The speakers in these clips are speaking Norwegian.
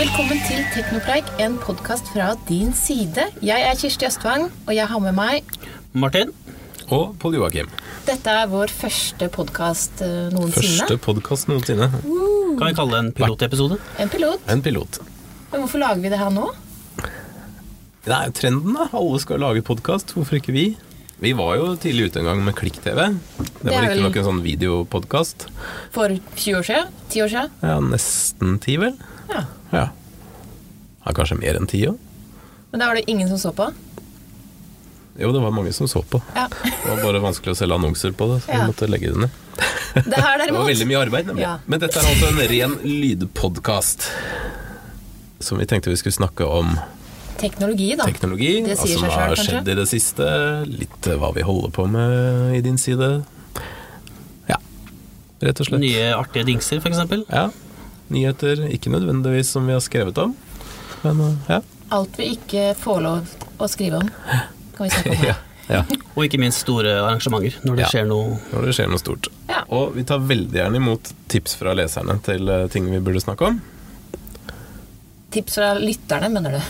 Velkommen til Teknopreik, en podkast fra din side. Jeg er Kirsti Østvang, og jeg har med meg Martin. Og Pål Joakim. Dette er vår første podkast noensinne. Første podkast noensinne. Kan vi kalle det en pilotepisode? En pilot. En pilot. Men hvorfor lager vi det her nå? Det er jo trenden, da. Alle skal lage podkast. Hvorfor ikke vi? Vi var jo tidlig ute en gang med Klikk-TV. Det Det er var riktignok vel- en sånn videopodkast. For 20 år siden? 10 år siden? Ja, nesten ti, vel? Ja. Ja. ja kanskje mer enn ti òg? Men da var det ingen som så på? Jo, det var mange som så på. Ja. Det var bare vanskelig å selge annonser på det, så Ja. vi måtte legge det ned. Det her Det var veldig derimot mye arbeid, nemlig. Ja. Men dette er altså en ren lydpodkast. Som vi tenkte vi skulle snakke om Teknologi, da. teknologi. Det sier seg Altså selv, hva har kanskje? skjedd i det siste. Litt eh, hva vi holder på med i din side. Ja, rett og slett. Nye artige dingser, f.eks. Ja. Nyheter ikke nødvendigvis som vi har skrevet om, men eh, ja. Alt vi ikke får lov å skrive om, kan vi snakke om ja. her. ja. Og ikke minst store arrangementer, når det Ja. skjer noe Når det skjer noe stort. Ja. Og vi tar veldig gjerne imot tips fra leserne til eh, ting vi burde snakke om. Tips fra lytterne, mener du?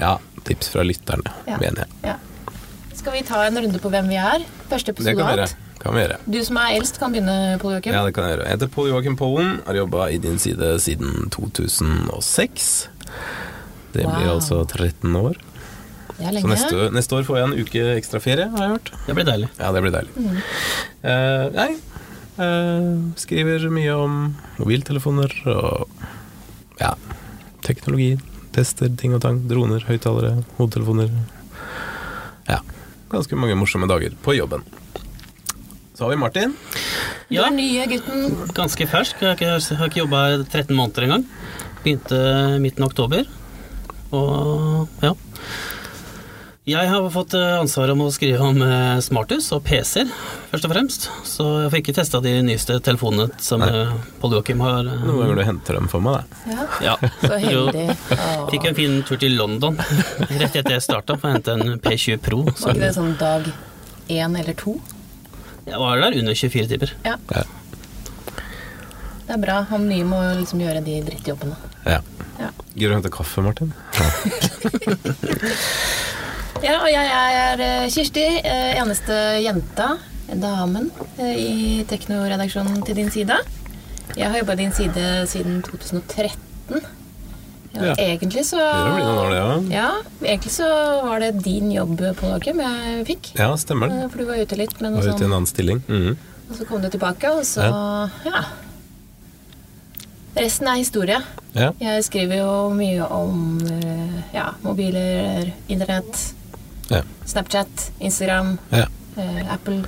Ja, tips fra lytterne, Ja. mener jeg. Ja. Skal vi ta en runde på hvem vi er? Første Det episode kan vi av gjøre. alt. Kan vi gjøre. Du som er eldst, kan begynne, Pål Joakim. Ja, det kan jeg gjøre. Jeg heter Pål Joakim Pollen, har jobba i din side siden 2006. Det blir Wow. altså 13 år. Det er Så lenge. neste, neste år får jeg en uke ekstra ferie, har jeg hørt. Det blir deilig. Ja, det blir deilig. Mm. Eh, nei, eh, skriver mye om mobiltelefoner og ja, teknologi. Tester, ting og tang. Droner, høyttalere, hodetelefoner. Ja. Ganske mange morsomme dager på jobben. Så har vi Martin. Du Ja, er nye gutten. ganske fersk. Jeg har ikke, har ikke jobba 13 måneder engang. Begynte midten av oktober. Og ja. Jeg har fått eh, ansvaret om å skrive om eh, smarthus og PC-er, først og fremst. Så jeg fikk ikke testa de nyeste telefonene som Nei. eh, Pål Joakim har. eh, Noen Mm. ganger du henter dem for meg, da. Ja. Ja. Så Jo. heldig. Åh. Fikk en fin tur til London rett etter jeg starta for å hente en P20 Pro. Var Som ikke det sånn dag én eller to? jeg var der under 24 timer. Ja, Ja. det er bra. Han nye må liksom gjøre de drittjobbene. Ja. Ja. Gidder du å hente kaffe, Martin? Ja, og jeg er eh, Kirsti, eh, eneste jenta, damen, eh, i teknoredaksjonen til din side. Jeg har jobba i din side siden 2013. Ja, Ja. Egentlig så Det blir noen år, det òg. Ja, egentlig så var det din jobb på Dagen jeg fikk. Ja, stemmer det. Eh, For du var ute litt med noe Var ute i en sånn, annen stilling. Mhm. og så kom du tilbake, og så ja. Resten er historie. Ja. Jeg skriver jo mye om eh, ja, mobiler, internett, Ja. Snapchat, Instagram, ja. eh, Apple.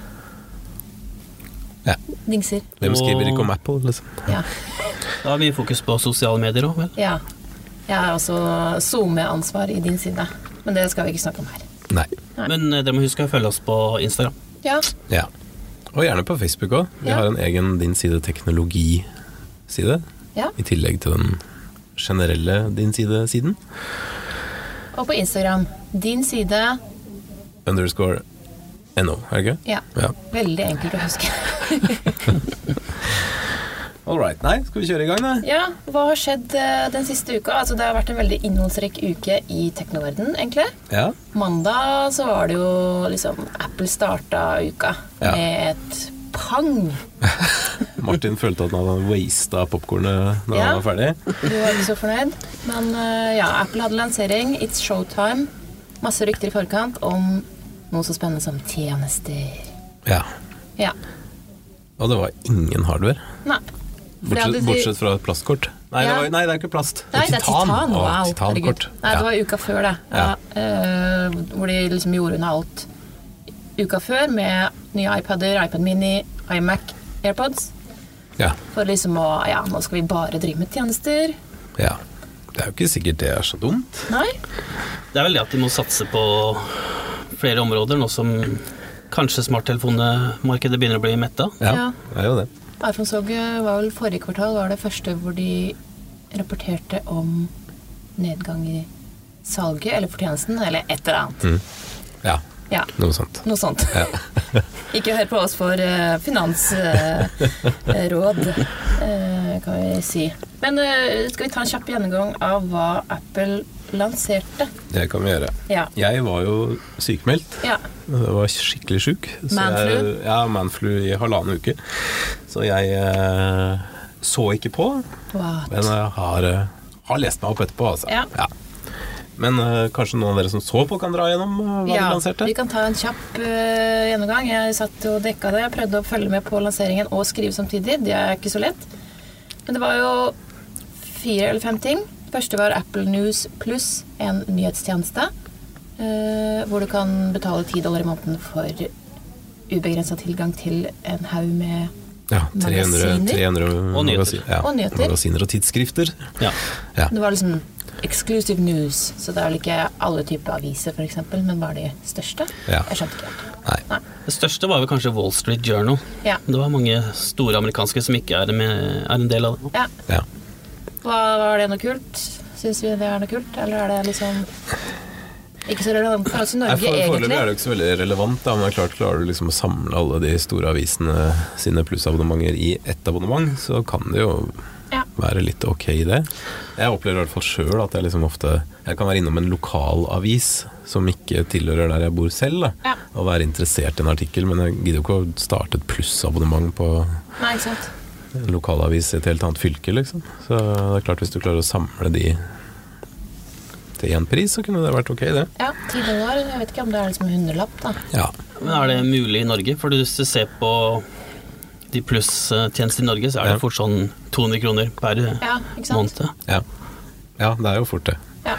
Ja. Dingser. Hvem skriver Og- ikke om Apple, liksom? Ja. Da har vi fokus på sosiale medier òg, vel. ja. Jeg har også SoMe-ansvar i din side, men det skal vi ikke snakke om her. Nei. Men eh, dere må huske å følge oss på Instagram. Ja, Ja. Og gjerne på Facebook òg. Vi Ja. har en egen Din side teknologi-side. ja. I tillegg til den generelle Din side-siden. Og på Instagram. Din side. Underscore no, er det ikke? Ja. Ja. Veldig enkelt å huske. All right. Nei, skal vi kjøre i gang, da? Ja, Hva har skjedd eh, den siste uka? Altså, det har vært en veldig innholdsrik uke i teknoverdenen, egentlig. Ja. Mandag så var det jo liksom Apple starta uka Ja. med et pang. Martin følte at han hadde wasta popkornet da Ja. han var ferdig. Du var ikke så fornøyd. Men eh, ja, Apple hadde lansering. It's showtime. Masse rykter i forkant om noe så spennende som tjenester. Ja. Ja. Og det var ingen hardware. Nei. For det hadde de- Bortsett, bortsett fra plastkort. Nei, Ja. det var, nei, det er ikke plast. Nei, det er titan. Å, Wow. titankort. herregud. Nei, det var uka før, det. Ja. Ja. eh, hvor de liksom gjorde unna alt uka før med nye iPader, iPad Mini, iMac, AirPods. Ja. For liksom å Ja, nå skal vi bare drive med tjenester. Ja. ja. Det er jo ikke sikkert det er så dumt. Nei. Det er vel det at de må satse på flere områder, nå som kanskje smarttelefonmarkedet begynner å bli metta. Ja. Det er jo det. iPhone-salget var vel forrige kvartal var det første hvor de rapporterte om nedgang i salget eller fortjenesten eller et eller annet. Ja, Ja, noe sånt. noe sånt. Mm. Ja. Ikke hør eh, på oss for finansråd, kan eh, vi si. Men eh, skal vi ta en kjapp gjennomgang av hva Apple lanserte? Det kan vi gjøre. Ja. Jeg var jo sykemeldt. ja. Jeg var skikkelig sjuk. så Manflu? jeg- Ja, manflu i halvannen uke. Så jeg eh, så ikke på, men What? jeg har, eh, har lest meg opp etterpå, altså. Ja. Men eh, kanskje noen av dere som så på, kan dra gjennom eh, hva Ja, de lanserte? vi kan ta en kjapp eh, gjennomgang. Jeg satt og dekka det. Jeg prøvde å følge med på lanseringen og skrive samtidig. Det er ikke så lett. Men det var jo fire eller fem ting. Det første var Apple News pluss en nyhetstjeneste. eh, hvor du kan betale ti dollar i måneden for ubegrensa tilgang til en haug med Ja, 300, Magasiner? 300 Og nyheter. magasin- ja, Og nyheter. Magasiner og tidsskrifter. Ja. Ja. Det var liksom exclusive news. Så det er vel ikke alle typer aviser, f.eks., men bare de største. Ja. Jeg skjønte ikke helt. Nei. Det største var vel kanskje Wall Street Journal. Ja. Det var mange store amerikanske som ikke er, med, er en del av det. ja. Ja. Hva, var det noe kult? Syns vi det er noe kult, eller er det liksom ikke så relevant for oss i Nei, Norge, for- Foreløpig egentlig? er det jo ikke så veldig relevant, da, men det er klart klarer du liksom å samle alle de store avisene sine plussabonnementer i ett abonnement, så kan det jo Ja. være litt ok, det. Jeg opplever i hvert fall sjøl at jeg liksom ofte Jeg kan være innom en lokal avis som ikke tilhører der jeg bor selv, da, Ja. og være interessert i en artikkel, men jeg gidder jo ikke å starte et plussabonnement på Nei, ikke sant. en lokalavis i et helt annet fylke, liksom. Så det er klart, hvis du klarer å samle de til én pris, så kunne det vært ok, det. Ja, 10 dollar. Jeg vet ikke om det er liksom en hundrelapp, da. Ja. Men er det mulig i Norge? For hvis du ser på de plusstjenester i Norge, så er Ja. det fort sånn 200 kroner per Ja, ikke sant? måned. Ja. ja, det er jo fort det. Ja.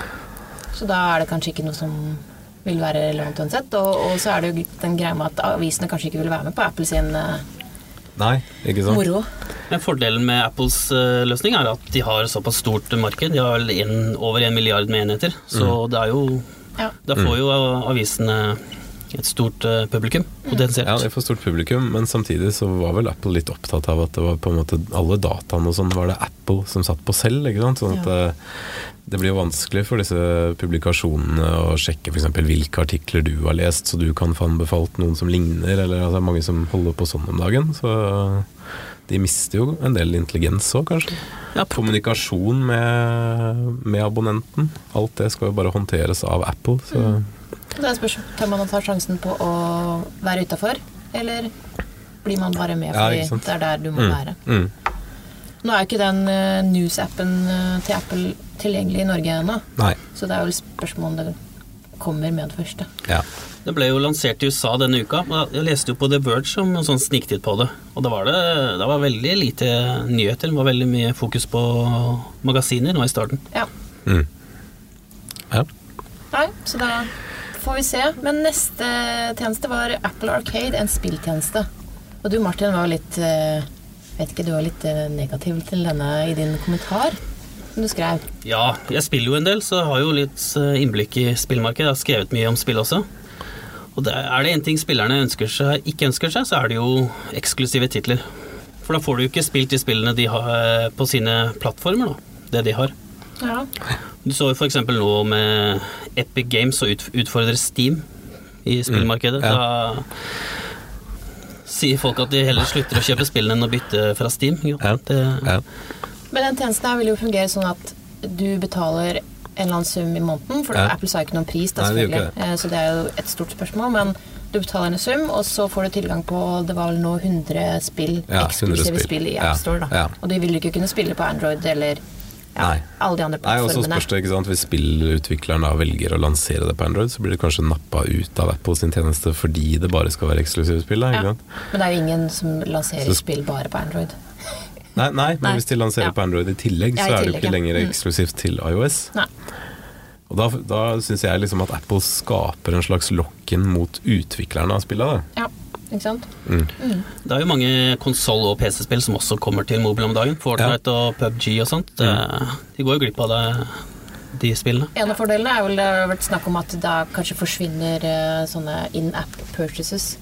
Så da er det kanskje ikke noe som vil være relevant uansett. Og, og så er det jo den greia med at avisene kanskje ikke vil være med på Apple sin eh, Nei, ikke sant? moro. Men fordelen med Apples eh, løsning er at de har såpass stort marked. De har vel en, over en milliard med enheter, så det er jo Ja. Da får jo avisene et stort eh, publikum, Ja, potensielt. det er for stort publikum, men samtidig så var vel Apple litt opptatt av at det var på en måte alle dataene og sånn var det Apple som satt på selv, ikke sant? Sånn at Ja. eh, det blir jo vanskelig for disse publikasjonene å sjekke f.eks. hvilke artikler du har lest, så du kan få anbefalt noen som ligner, eller altså det er mange som holder på sånn om dagen. Så de mister jo en del intelligens òg, kanskje. Ja, Kommunikasjon med, med abonnenten. Alt det skal jo bare håndteres av Apple, så Mm. Da spørs tør man å ta sjansen på å være utafor, eller blir man bare med Ja, fordi ikke sant. det er der du må være. mm. Nå er jo ikke den eh, news-appen eh, til Apple tilgjengelig i Norge ennå, Nei. så det er vel spørsmål om det kommer med det første. Ja. Det ble jo lansert i USA denne uka. og Jeg leste jo på The Verge som en sånn sniktitt på det. Og da var det, det var veldig lite nyheter. Det var veldig mye fokus på magasiner nå i starten. Ja. Mm. Ja. Nei, så da får vi se. Men neste tjeneste var Apple Arcade, en spilltjeneste. Og du Martin var jo litt eh, Vet ikke, du var litt eh, negativ til denne i din kommentar som du skrev. Ja, jeg spiller jo en del, så jeg har jo litt eh, innblikk i spillmarkedet. Jeg har skrevet mye om spill også. Og det er det én ting spillerne ønsker seg, ikke ønsker seg, så er det jo eksklusive titler. For da får du jo ikke spilt de spillene de har eh, på sine plattformer, da. Det de har. Ja. Du så jo for eksempel nå med Epic Games og ut- utfordrer Steam i spillmarkedet. Mm, ja. Da sier folk at de heller slutter å kjøpe spillene enn å bytte fra Steam. Jo, Ja. det, Ja. Men den tjenesten her vil jo fungere sånn at du betaler en eller annen sum i måneden, for Ja. Apple sa jo ikke noen pris, da, Nei, det gjør selvfølgelig. Eh, Så det er jo et stort spørsmål, men du betaler en sum, og så får du tilgang på det var vel nå 100 spill, Ja, 100 eksklusive spill. spill. i Ja, AppStore, da. ja. Og de vil jo ikke kunne spille på Android eller ja, Nei. alle de andre Nei, og så plattformene. spørs det, ikke sant, Hvis spillutvikleren da velger å lansere det på Android, så blir det kanskje nappa ut av Apple sin tjeneste fordi det bare skal være eksklusive spill. Da, ja. ikke sant? Men det er jo ingen som lanserer Så- spill bare på Android. Nei, nei, men Nei. hvis de lanserer Ja. på Android i tillegg, Ja, så i er det jo tillegg, ikke ja. lenger Mm. eksklusivt til iOS. Nei. Og da, da syns jeg liksom at Apple skaper en slags lock-in mot utviklerne av spillene. Ja, ikke sant? det er jo mange konsoll- og PC-spill som også kommer til mobil om dagen. Fortnite og PubG og sånt. Det, Mm. de går jo glipp av det, de spillene. En av fordelene er vel det har vært snakk om at da kanskje forsvinner eh, sånne in app purchases.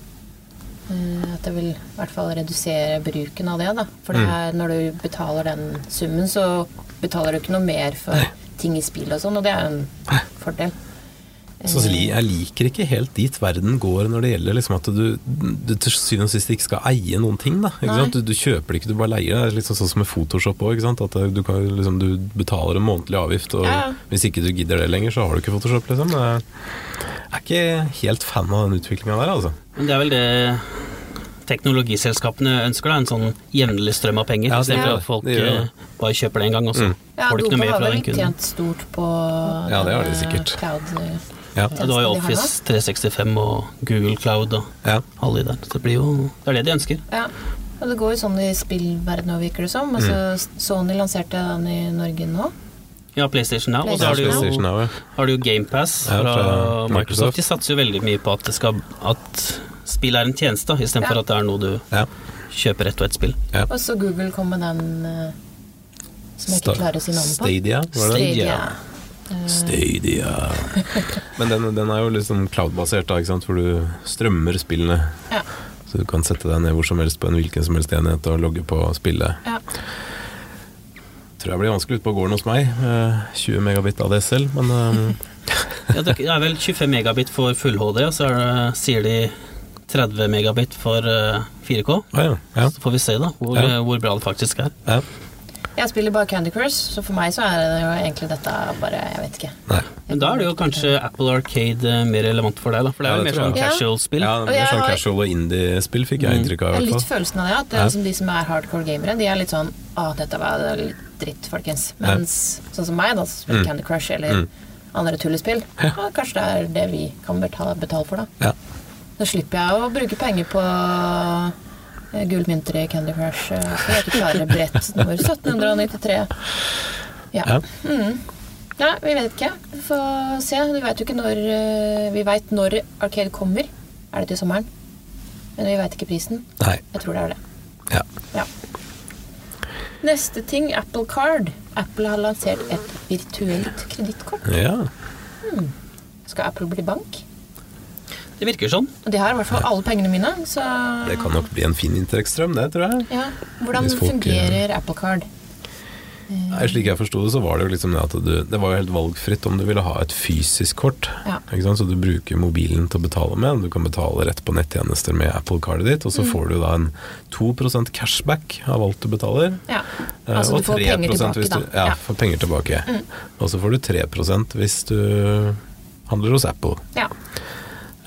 Eh, At det vil i hvert fall redusere bruken av det. da. For Mm. det er, når du betaler den summen, så betaler du ikke noe mer for ting i spill og sånn, og det er jo en fordel. Eh, Så li- jeg liker ikke helt dit verden går når det gjelder liksom at du, du til syvende og sist ikke skal eie noen ting. Da, ikke Nei. sant? Du, du kjøper det ikke, du bare leier det. Det er liksom sånn som med Photoshop òg. Du, kan jo liksom, du betaler en månedlig avgift, og Ja, ja. hvis ikke du gidder det lenger, så har du ikke Photoshop. Liksom. Jeg er ikke helt fan av den utviklinga der, altså. Men det er vel det teknologiselskapene ønsker, da. En sånn jevnlig strøm av penger. Ja, Istedenfor det gjør det. at folk Det gjør det. eh, bare kjøper det en gang, og så Mm. Ja, får du ikke Dopa noe mer har fra vel den kunden. tjent stort på Ja, det har de denne sikkert. Cloud. eh, Ja. Ja, du har tjenesten jo de har, Office 365 og Google Cloud og Ja. alle de der. Så det blir jo Det er det de ønsker. Ja. Og det går jo sånn i spillverdenen òg, virker det som. Mm. Altså, Sony lanserte den i Norge nå. Ja, PlayStation Now. Og så Ja, har du PlayStation jo, Now, ja. har du jo GamePass fra Ja, fra Microsoft. Microsoft. De satser jo veldig mye på at, det skal, at spill er en tjeneste, da, istedenfor Ja. at det er noe du Ja. kjøper ett og ett spill. Og så Google kom med den eh, som jeg Sta- ikke klarer å si navnet på. Stadia, var det det? Stadia. Stadia. Men den, den er jo liksom cloud-basert, da, ikke sant? hvor du strømmer spillene. Ja. Så du kan sette deg ned hvor som helst på en hvilken som helst enhet og logge på spillet. Ja. Tror jeg blir vanskelig ute på gården hos meg. eh, 20 megabit ADSL, men eh, Ja, det er vel 25 megabit for full HD, og så er det, sier de 30 megabit for eh, 4K. ja, ja, Så får vi se da hvor, eh, Ja. hvor bra det faktisk er. ja. Jeg spiller bare Candy Crush, så for meg så er det jo egentlig dette bare Jeg vet ikke. Nei. Men da er det jo kanskje Apple Arcade eh, mer relevant for deg, da. For det er Ja, jo det mer tror sånn jeg. Ja. casual-spill. Ja, Og det blir jeg sånn har- Mm. casual og indiespill, fikk jeg Jeg inntrykk av. i har hvert litt fall. følelsen av det, at det Ja. er liksom de som er hardcore gamere, de er litt sånn Å, dette var det var litt dritt, folkens. Mens sånn som meg, da, som Mm. spiller Candy Crush eller andre tullespill, ja, kanskje det er det vi kan betale, betale for, da. Ja. Da slipper jeg å bruke penger på eh, gullmynter i Candy Crush. eh, For jeg ikke klarer brett nummer 1793. Ja. Ja. Mm. Nei, vi vet ikke. Vi får se. Du vet jo ikke når eh, Vi veit når Arcade kommer. Er det til sommeren? Men vi veit ikke prisen. Nei. Jeg tror det er det. Ja. Ja. Neste ting, Apple Card. Apple har lansert et virtuelt kredittkort. ja. Skal Apple bli bank? Det virker sånn. Og de har i hvert fall alle pengene mine, så Det kan nok bli en fin inntektsstrøm, det, tror jeg. ja. Hvordan Hvis folk, eh, fungerer Apple Card? Eh, Nei, slik jeg forsto det, så var det jo liksom det at du Det var jo helt valgfritt om du ville ha et fysisk kort. Ja. Ikke sant? Så du bruker mobilen til å betale med. Du kan betale rett på nettjenester med Apple-kartet ditt, og Mm. så får du da en 2 cashback av alt du betaler. Ja. eh, Altså og du får penger 3% tilbake, hvis du, da. Ja, Ja. Mm. får penger tilbake. Og så får du 3 hvis du handler hos Apple. ja.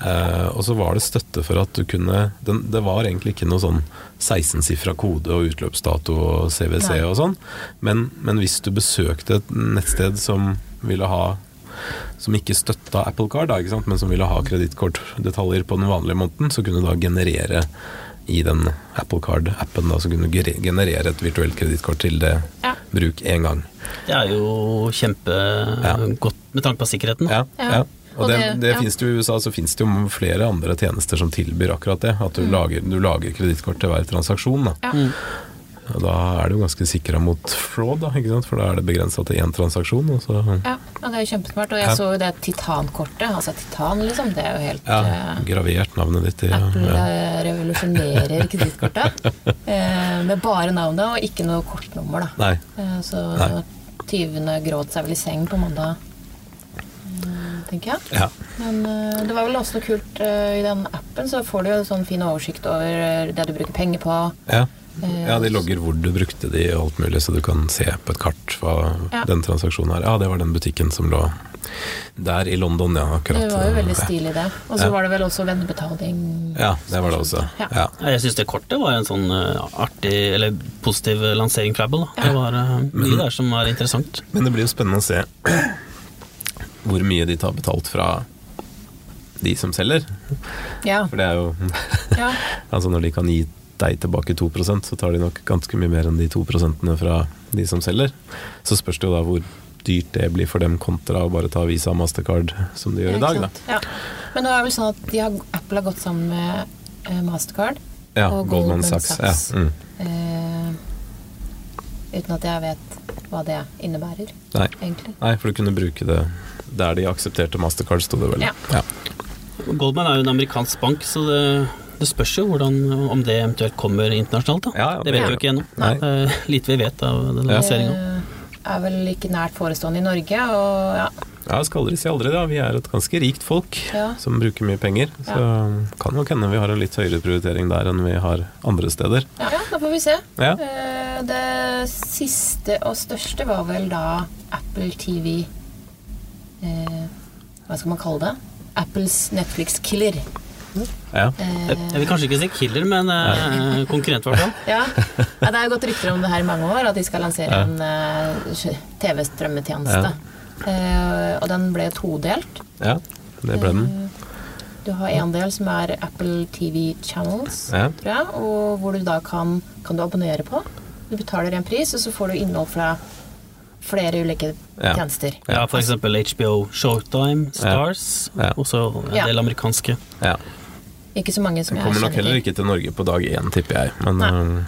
Eh, og så var det støtte for at du kunne den, Det var egentlig ikke noe sånn 16-sifra kode og utløpsdato og CWC Nei. og sånn, men, men hvis du besøkte et nettsted som ville ha som ikke støtta Apple Card, da, ikke sant? men som ville ha kredittkortdetaljer på den vanlige måneden, så kunne du da generere i den Apple Card-appen da, så kunne du gere- generere et virtuelt kredittkort til det Ja. bruk én gang. Det er jo kjempegodt med tanke på sikkerheten. da. Ja, Ja. ja. Og, Og det, det- det ja. finnes det jo i USA, så finnes det jo flere andre tjenester som tilbyr akkurat det. At du lager, du lager kredittkort til hver transaksjon. Da. Mm. Ja. Og da er du jo ganske sikra mot fraud, da, ikke sant? for da er det begrensa til én transaksjon. Og så, ja. Og det er jo kjempesmart. Og jeg Ja. så jo det titankortet. Altså titan, liksom. Det er jo helt ja, eh, gravert navnet ditt i Apple ja. eh, revolusjonerer kredittkortet. eh, med bare navnet og ikke noe kortnummer, da. Nei. Eh, Så Nei. tyvene gråt seg vel i seng på mandag, eh, tenker jeg. Ja. Men eh, det var vel også noe kult eh, i den appen, så får du jo en sånn fin oversikt over eh, det du bruker penger på. Ja. Eh, ja, de logger hvor du brukte de og alt mulig, så du kan se på et kart hva Ja. den transaksjonen er. Ja, det var den butikken som lå der i London, ja, akkurat. Det var jo veldig Ja. stilig, det. Og så Ja. var det vel også vennebetaling. Ja, det var det også. Ja. Ja. Ja, Jeg syns det kortet var en sånn eh, artig, eller positiv eh, lansering fra Apple. Da. Det var eh, Mhm. mye der som er interessant. Men det blir jo spennende å se hvor mye de tar betalt fra de som selger. Ja. For det er jo ja. Altså når de kan gi deg tilbake 2 så tar de nok ganske mye mer enn de 2 fra de som selger. Så spørs det jo da hvor dyrt det blir for dem kontra å bare ta Visa og Mastercard som de gjør i Ja, dag, ikke da. sant? Ja. Men nå er det vel sånn at de har, Apple har gått sammen med eh, Mastercard. Ja, Og Goldman Goldman Sachs. Sachs. Ja, mm. Eh, uten at jeg vet hva det innebærer, Nei. egentlig. Nei, for du kunne bruke det der de aksepterte Mastercard, sto det vel. Ja. Ja. Goldman er jo en amerikansk bank, så det, det spørs jo hvordan, om det eventuelt kommer internasjonalt. Da. Ja, ja, det vet det- vi jo ikke ennå. Nei. Det er Lite vi vet av den Ja. lanseringa. Eh, er vel ikke nært forestående i Norge, og ja, Ja, skal aldri si aldri, da. Vi er et ganske rikt folk Ja. som bruker mye penger. Så kan nok hende vi har en litt høyere prioritering der enn vi har andre steder. Ja, da får vi se. Ja. Eh, Det siste og største var vel da Apple TV eh, Hva skal man kalle det? Apples Netflix-killer. Ja. Eh. Jeg, jeg vil kanskje ikke si killer, men eh, konkurrent, i hvert fall. Ja. ja, Det er gått rykter om det her i mange år, at de skal lansere en eh, sj- TV-strømmetjeneste. Eh, og den ble todelt. ja, det ble den. Eh, Du har en del som er Apple TV Channels, Ja. tror jeg, og hvor du da kan, kan du abonnere på. Du betaler en pris, og så får du innhold fra flere ulike Ja. tjenester. Ja, for eksempel HBO Showtime, Stars, Ja. og så en Ja. del amerikanske. Ja. Ikke så mange som Den jeg kommer nok kjenner til. heller ikke til Norge på dag én, tipper jeg. Men, Nei. eh,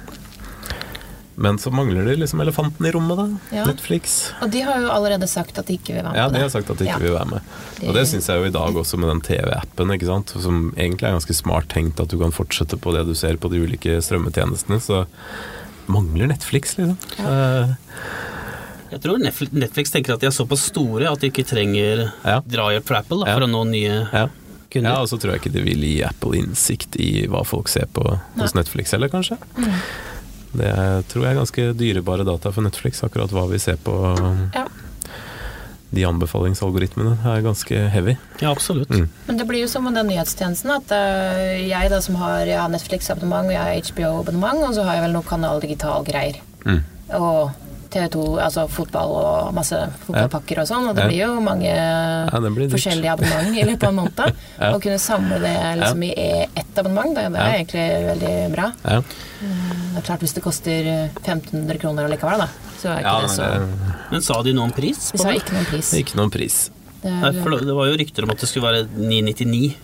men så mangler det liksom elefanten i rommet, da. Ja. Netflix. Og de har jo allerede sagt at de ikke vil være med Ja, på de det. har sagt at de ikke Ja. vil være med. Og det syns jeg jo i dag også med den TV-appen, ikke sant. Som egentlig er ganske smart tenkt at du kan fortsette på det du ser på de ulike strømmetjenestene. Så mangler Netflix, liksom. Eh, Jeg tror Netflix Netflix tenker at de er såpass store at de ikke trenger Ja. drahjelp fra Apple da, Ja. for å nå nye ja. ja, kunder. og så tror jeg ikke de vil gi Apple innsikt i hva folk ser på hos Netflix heller, kanskje. Mm. Det er, tror jeg er ganske dyrebare data for Netflix, akkurat hva vi ser på. um, Ja. De anbefalingsalgoritmene er ganske heavy. Ja, absolutt. Mm. Men det blir jo som med den nyhetstjenesten at øh, jeg da som har ja, Netflix-abonnement og jeg har HBO-abonnement, og så har jeg vel noe Kanal Digital-greier. Mm. Og TV2, altså fotball og masse fotballpakker og sånn, og det Ja. blir jo mange det blir dyrt. forskjellige abonnement i løpet av en måned. Ja. Å kunne samle det liksom i ett abonnement, det, det er Ja. egentlig veldig bra. Ja, Det er klart hvis det koster 1500 kroner allikevel, da, så er ikke ja det men så Men sa de noe om pris Vi på sa det? ikke noen pris. det er ikke noen pris. Det er- Nei, for det det var jo rykter om at det skulle være 999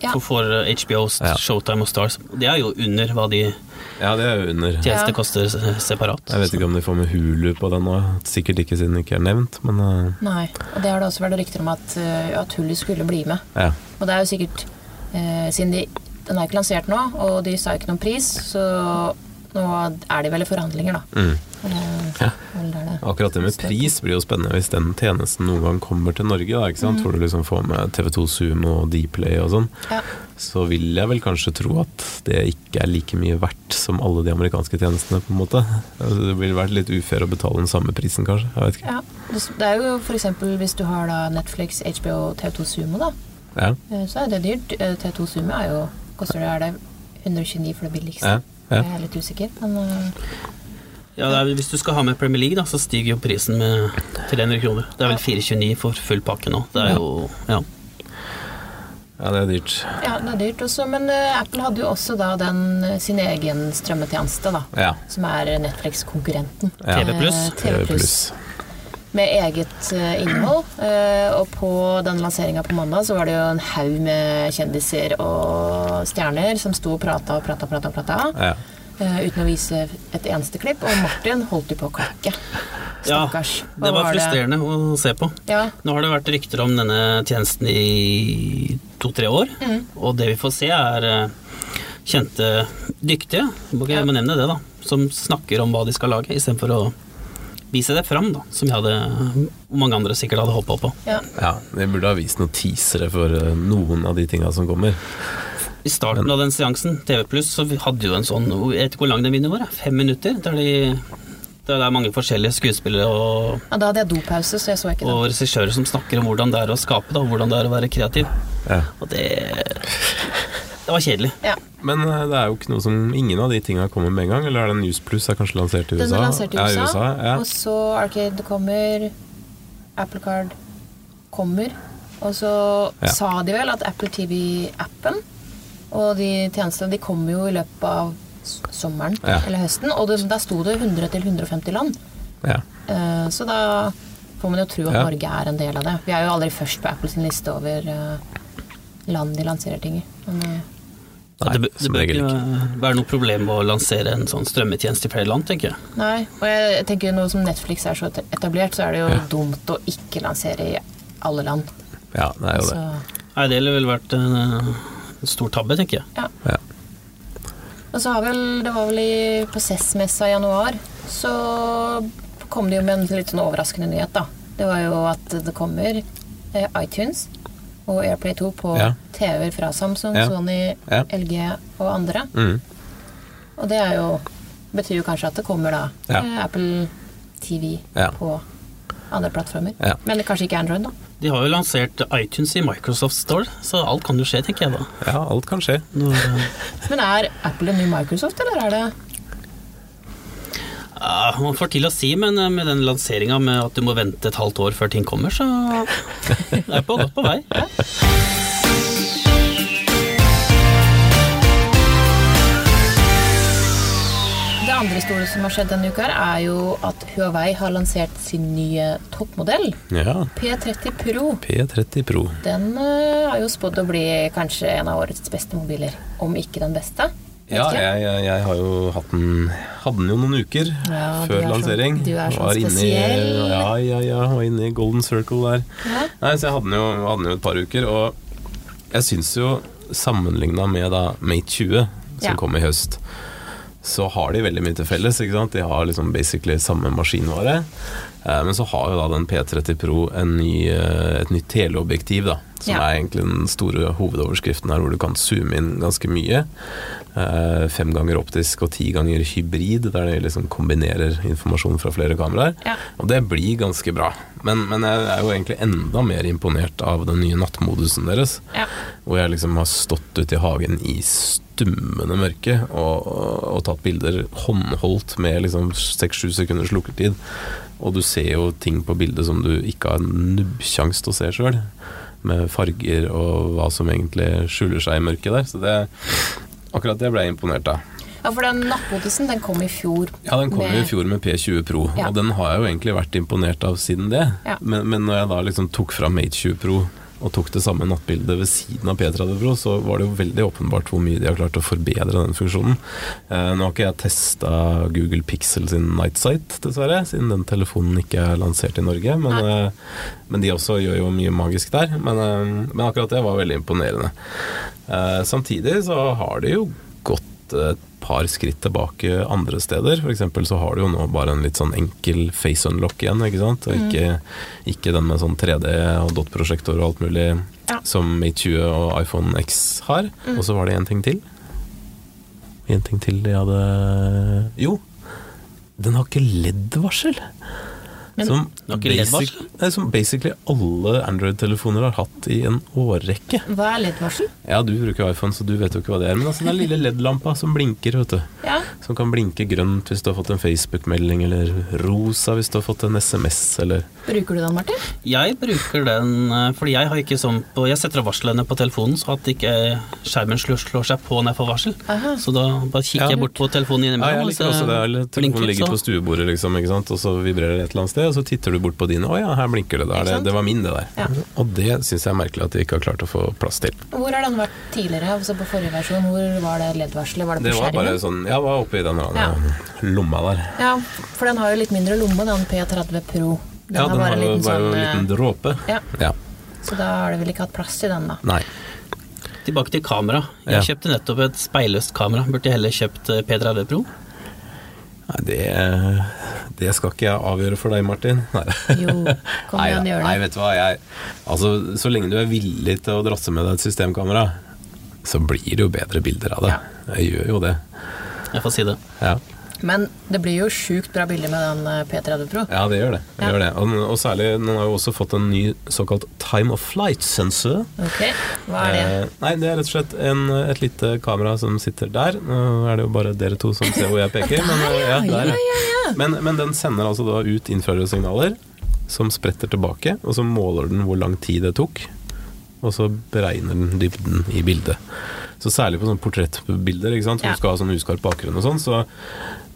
Ja. for, for eh, HBO, s- Ja. Showtime og Stars. Det er jo under hva de Ja, det er jo under. tjenester Ja. koster eh, separat. Jeg vet ikke om de får med Hulu på den nå. Sikkert ikke siden det ikke er nevnt, men eh, Nei, og det har det også vært rykter om at, øh, at Hullet skulle bli med. ja. Og det er jo sikkert eh, Siden de, den er ikke lansert nå, og de sa ikke noen pris, så nå er de vel i forhandlinger, da. Mm. Eh, Ja. vel, det er det. Akkurat det med pris blir jo spennende hvis den tjenesten noen gang kommer til Norge, da, ikke Mm. sant? hvor du liksom får med TV2 Sumo og Dplay og sånn. Ja. Så vil jeg vel kanskje tro at det ikke er like mye verdt som alle de amerikanske tjenestene, på en måte. Altså, Det ville vært litt ufair å betale den samme prisen, kanskje. Jeg vet ikke. Ja. Det er jo for eksempel hvis du har da Netflix, HBO, TV2 Sumo, da, Ja. eh, så er det dyrt. Eh, TV2 Sumo er jo Koster det, er det 129 for det billigste? Ja, ja. Jeg er litt usikker, men eh, Ja, det er, hvis du skal ha med Premier League, da, så stiger jo prisen med 300 kroner. Det er vel 429 for full pakke nå. Det er jo ja. ja, det er dyrt. ja, det er dyrt også. Men eh, Apple hadde jo også da den, eh, sin egen strømmetjeneste, da. Ja. Som er Netflix-konkurrenten. Ja. TV+. Eh, TV+. Pluss. med eget eh, innhold. eh, Og på den lanseringa på mandag så var det jo en haug med kjendiser og stjerner som sto og prata og prata og prata, og prata, Ja. eh, uten å vise et eneste klipp. Og Martin holdt jo på å klakke. ja. Stakkars. Hva Det var var det? frustrerende å se på. Ja, Nå har det vært rykter om denne tjenesten i to-tre år, og det vi får se er eh, kjente, dyktige, må ikke jeg må nevne det da, som snakker om hva de skal lage, istedenfor å vise det fram, da, som jeg hadde, mange andre sikkert hadde håpa på. ja. ja. De burde ha vist noen teasere for eh, noen av de tinga som kommer. I starten av den seansen, TV Pluss, så vi hadde jo en sånn, jeg vet ikke hvor lang den videoen var, jeg, fem minutter, der de der det er mange forskjellige skuespillere og, Ja, Da hadde jeg dopause, så jeg så ikke og det. regissører som snakker om hvordan det er å skape, da, og hvordan det er å være kreativ. Ja. Og det Det var kjedelig. Ja, Men eh, det er jo ikke noe som Ingen av de tinga kommer med en gang. Eller er det News Plus er kanskje lansert i Den USA? er lansert i USA, Ja, i USA ja. og så Arcade kommer, Apple Card kommer, og så Ja. sa de vel at Apple TV-appen og de tjenestene de kommer jo i løpet av s- sommeren Ja. eller høsten, og det, der sto det 100-150 land. Ja. Eh, så da får man jo tro at Ja. Norge er en del av det. Vi er jo aldri først på Apples liste over eh, land de lanserer ting i. Men, eh, Så det, Nei, bø- det som bør regel ikke være noe problem med å lansere en sånn strømmetjeneste i flere land, tenker jeg. Nei, og jeg tenker nå som Netflix er så etablert, så er det jo dumt å ikke lansere i alle land. Ja, det er jo Så, det. Nei, det ville vel vært en, eh, en stor tabbe, tenker jeg. ja. Ja. Og så har vel, det var vel i Prosessmessa i januar, så kom det jo med en litt sånn overraskende nyhet, da. Det var jo at det kommer eh, iTunes og Airplay 2 på Ja. TV-er fra Samsung, Ja. Sony, Ja. LG og andre. Mm. Og det er jo, betyr jo kanskje at det kommer da Ja. eh, Apple TV Ja. på andre plattformer. Ja. Men kanskje ikke Android, da. De har jo lansert iTunes i Microsoft Store, så alt kan jo skje, tenker jeg da. Ja, alt kan skje. Når, eh, Men er Apple en ny Microsoft, eller er det Ja, man får til å si, men eh, med den lanseringa med at du må vente et halvt år før ting kommer, så er jeg på godt på vei. Det andre store som har skjedd denne uka, her, er jo at Huawei har lansert sin nye toppmodell, Ja. P30 Pro. P30 Pro. Den eh, har jo spådd å bli kanskje en av årets beste mobiler, om ikke den beste. Vet Ja, ikke. jeg, jeg, jeg har jo hatt den Hadde den jo noen uker Ja, du før er så- lansering. du er så Var inne i- spesiell. Ja, ja, ja. Var inne i golden circle der. Ja. Nei, så jeg hadde den jo, hadde den jo et par uker, og jeg syns jo sammenligna med da Mate 20, som Ja. kom i høst, så har de veldig mye til felles. ikke sant? De har liksom basically samme maskinvare. Eh, Men så har jo da den P30 Pro en ny, eh, et nytt teleobjektiv, da. Som Ja. er egentlig den store hovedoverskriften her, hvor du kan zoome inn ganske mye. Eh, Fem ganger optisk og ti ganger hybrid, der de liksom kombinerer informasjon fra flere kameraer. Ja. Og det blir ganske bra. Men, men jeg er jo egentlig enda mer imponert av den nye nattmodusen deres. Ja. Hvor jeg liksom har stått ute i hagen i stummende mørke og, og, og tatt bilder håndholdt med liksom seks-sju sekunders lukketid. Og du ser jo ting på bildet som du ikke har nubbsjanse til å se sjøl. Med farger og hva som egentlig skjuler seg i mørket der. Så det, akkurat det ble jeg imponert av. ja, for den nattmodusen, den kom i fjor. Ja, den kom jo i med- fjor med P20 Pro, Ja. og den har jeg jo egentlig vært imponert av siden det. Ja. Men, men når jeg da liksom tok fra Mate 20 Pro og tok det samme nattbildet ved siden av P30 Pro, så var det jo veldig åpenbart hvor mye de har klart å forbedre den funksjonen. Eh, nå har ikke jeg testa Google Pixel sin Nightsight, dessverre, siden den telefonen ikke er lansert i Norge. Men, eh, men de også gjør jo mye magisk der. Men, eh, men akkurat det var veldig imponerende. Eh, samtidig så har de jo gått eh, et par skritt tilbake andre steder. For eksempel så har du jo nå bare en litt sånn enkel face unlock igjen, ikke sant. Og ikke, Mm. ikke den med sånn 3D og dot-prosjektor og alt mulig Ja. som Mate 20 og iPhone X har. Mm. Og så var det én ting til. En ting til de hadde Jo, den har ikke LED-varsel! Men- Som, Den har ikke basic- nei, som basically alle Android-telefoner har hatt i en årrekke. Hva er LED-varsel? Ja, du bruker jo iPhone, så du vet jo ikke hva det er. Men altså, den lille LED-lampa som blinker, vet du. Ja. Som kan blinke grønt hvis du har fått en Facebook-melding, eller rosa hvis du har fått en SMS, eller Bruker du den, Martin? Jeg bruker den eh, fordi jeg har ikke sånn på, Jeg setter av varslene på telefonen, så at ikke skjermen slår, slår seg på når jeg får varsel. Aha. Så da bare kikker Ja. jeg bort på telefonen Ja, innimellom. jeg og liker så også det. Eller blinker litt, telefonen sånn. ligger på så- stuebordet, liksom, ikke sant? og så vibrerer det et eller annet sted, og så titter du bort på dine. Å ja, her blinker det. Da Ikke er det, sant? det var min, det der. Ja. Og det syns jeg er merkelig at de ikke har klart å få plass til. Hvor har den vært tidligere? Altså på forrige versjon, hvor var det LED-varselet? Var det Det på var bare skjermen? sånn Ja, hva er oppi den her, lomma der? Ja, for den har jo litt mindre lomme, den P30 Pro. Den Ja, har den bare var en jo liten bare sånn en liten dråpe. ja, Ja. Så da har du vel ikke hatt plass til den, da. Nei. Tilbake til kamera. Jeg Ja. kjøpte nettopp et speilløst kamera. Burde jeg heller kjøpt eh, P30 Pro. Nei, det, det skal ikke jeg avgjøre for deg, Martin. Nei. Jo, kom Nei, igjen, da. gjør Nei, det. vet du hva. Jeg, altså, så lenge du er villig til å drasse med deg et systemkamera, så blir det jo bedre bilder av det. Jeg gjør jo det. Jeg får si det. Ja, Men det blir jo sjukt bra bilder med den eh, P30 Pro. ja det gjør det. det, Ja. gjør det. Og, den- og særlig, den har jo også fått en ny såkalt time of flight-sensor. Ok, hva er det? Eh, nei, det er rett og slett en, et lite kamera som sitter der. Nå er det jo bare dere to som ser hvor jeg peker. men, eh, ja, ja, der, ja, ja. Men, men den sender altså da ut infrarøde signaler som spretter tilbake, og så måler den hvor lang tid det tok. Og så beregner den dybden i bildet. Så særlig på sånne portrettbilder, ikke sant? hvor Ja. du skal ha sånn uskarp bakgrunn og sånn, så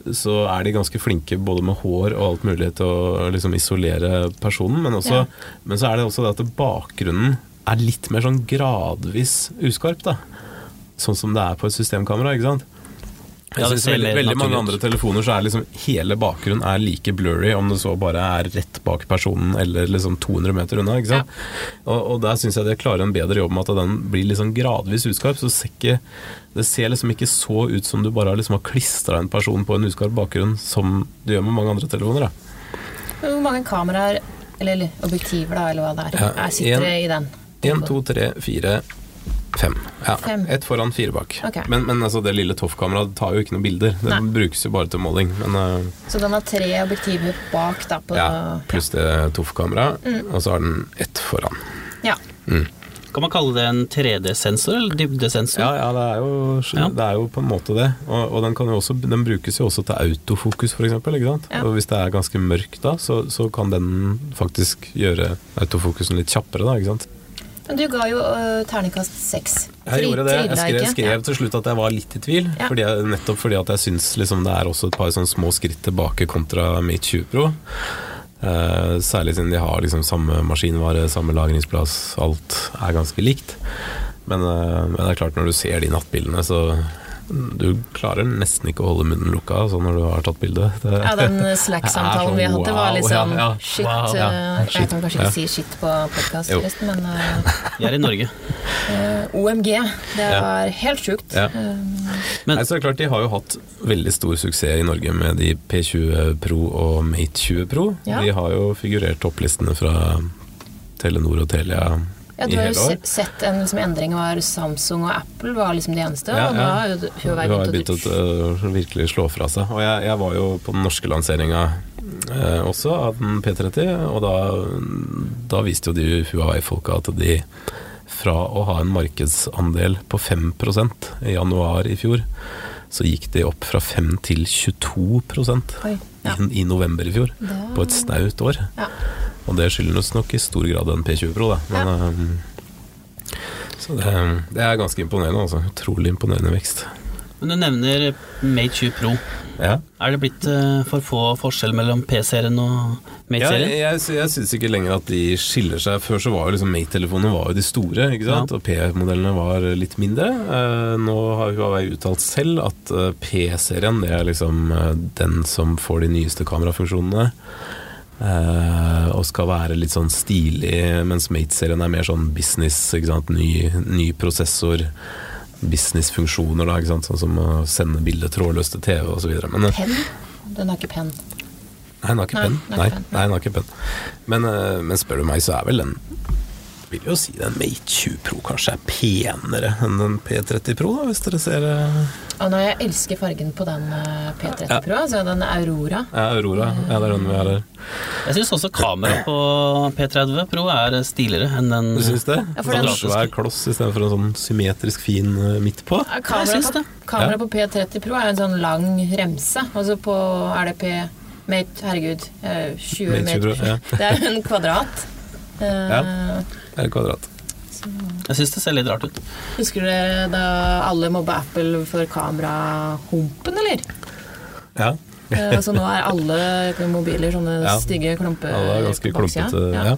så er de ganske flinke både med hår og alt mulig til å liksom isolere personen, men, også, Ja. men så er det også det at bakgrunnen er litt mer sånn gradvis uskarp, da. Sånn som det er på et systemkamera, ikke sant. Jeg Ja, det synes ser veldig, mer veldig mange naturlig ut. andre telefoner så er liksom hele bakgrunnen er like blurry, om det så bare er rett bak personen eller liksom 200 meter unna. ikke sant? Og, og der syns jeg det klarer en bedre jobb med at den blir liksom gradvis uskarp. så ser ikke, Det ser liksom ikke så ut som du bare har liksom har klistra en person på en uskarp bakgrunn, som du gjør med mange andre telefoner. da. Hvor mange kameraer Eller, eller objektiver, da, eller hva det er. Ja, Jeg sitter en- i den. Én, to, tre, fire, fem. Ja, Fem. Ett foran, fire bak. Ok. Men, men altså, det lille Toff-kameraet tar jo ikke noen bilder. Det Nei. brukes jo bare til måling. Men eh, Så den har tre objektiver bak, da. På, Mm. ja, pluss det Toff-kameraet, og så har den ett foran. Ja. Kan man kalle det en 3D-sensor eller dybdesensor? Ja, ja, det er jo, Ja. det er jo på en måte det. Og, og den, kan jo også, den brukes jo også til autofokus, for eksempel. Ikke sant? Ja. Og hvis det er ganske mørkt da, så, så kan den faktisk gjøre autofokusen litt kjappere, da. Ikke sant? Men du ga jo øh, terningkast seks. Jeg Fri- gjorde det. Jeg trilla skrev, ikke? skrev til slutt at jeg var litt i tvil. Ja. Fordi jeg, nettopp fordi at jeg syns liksom, det er også et par sånne små skritt tilbake kontra Mate 20 Pro. Eh, særlig siden de har liksom samme maskinvare, samme lagringsplass, alt er ganske likt. Men, eh, men det er klart, når du ser de nattbildene, så du klarer nesten ikke å holde munnen lukka altså, når du har tatt bildet. Det, Ja, den eh, Det er Slack-samtalen sånn, vi hadde, var wow, litt sånn ja, ja. shit. Wow, ja. øh, Jeg Shit, kan kanskje ja. ikke si shit på podkast, Jo. forresten, men øh, Vi er i Norge. øh, OMG. Det Ja. var helt sjukt. Ja. Øh, Men- Nei, så er det klart, De har jo hatt veldig stor suksess i Norge med de P20 Pro og Mate 20 Pro. Ja. De har jo figurert topplistene fra Telenor og Telia Ja, i du har jo hele år. se- sett en liksom, endring var Samsung og Apple var liksom de eneste. Ja, Og ja. da har jo De Huawei har begynt begynt å å øh, virkelig slå fra seg. Og jeg, jeg var jo på den norske lanseringa eh, også av den P30, og da, da viste jo de Huawei-folka at de fra å ha en markedsandel på 5 i januar i fjor, så gikk de opp fra 5 til 22 Oi, ja. i, i november i fjor. Da- På et snaut år. Ja. Og det skyldes nok i stor grad en P20 Pro, da. Men, ehm, så det, ehm, det er ganske imponerende, altså. Utrolig imponerende vekst. Men du nevner Mate 20 Pro. Ja. Er det blitt eh, for få forskjell mellom P-serien og jeg, Mate-serien? jeg, sy- jeg syns ikke lenger at de skiller seg. Før så var jo liksom Mate-telefonene var jo de store, ikke sant? Ja. og P-modellene var litt mindre. Eh, nå har Huawei uttalt selv at eh, P-serien det er liksom eh, den som får de nyeste kamerafunksjonene. eh, og skal være litt sånn stilig, mens Mate-serien er mer sånn business. Ikke sant? Ny, ny prosessor, businessfunksjoner, da, ikke sant? sånn som å sende bilder trådløst til TV osv. Men eh, Penn? Den har ikke penn. Nei, den har ikke Nei, penn. den Nei, har ikke penn. nei, den har ikke penn. Men, eh, men spør du meg, så er vel den Vil jo si den Mate 20 Pro kanskje er penere enn den P30 Pro, da, hvis dere ser eh, Og nå, jeg elsker fargen på den eh, P30 Ja. Pro, altså den Aurora. ja, Aurora. Mm. Ja, det er den vi har her. Jeg syns også kameraet på P30 Pro er eh, stiligere enn den Du syns det? Ja, for sånn den- svær kloss istedenfor en sånn symmetrisk fin eh, midt på? Ja, Jeg Kamera, syns på, det. kamera på P30 Pro er jo en sånn lang remse, og så på er det P Mate, herregud, eh, 20 Mate 20 Pro, meter. ja. Det er jo en kvadrat. Eh, Ja. Det er kvadrat. Jeg syns det ser litt rart ut. Husker dere da alle mobba Apple for kamerahumpen, eller? Ja. Eh, Altså nå er alle mobiler sånne Ja. stygge klumpe Ja, det er ganske på baksida. klumpete. Ja. Ja.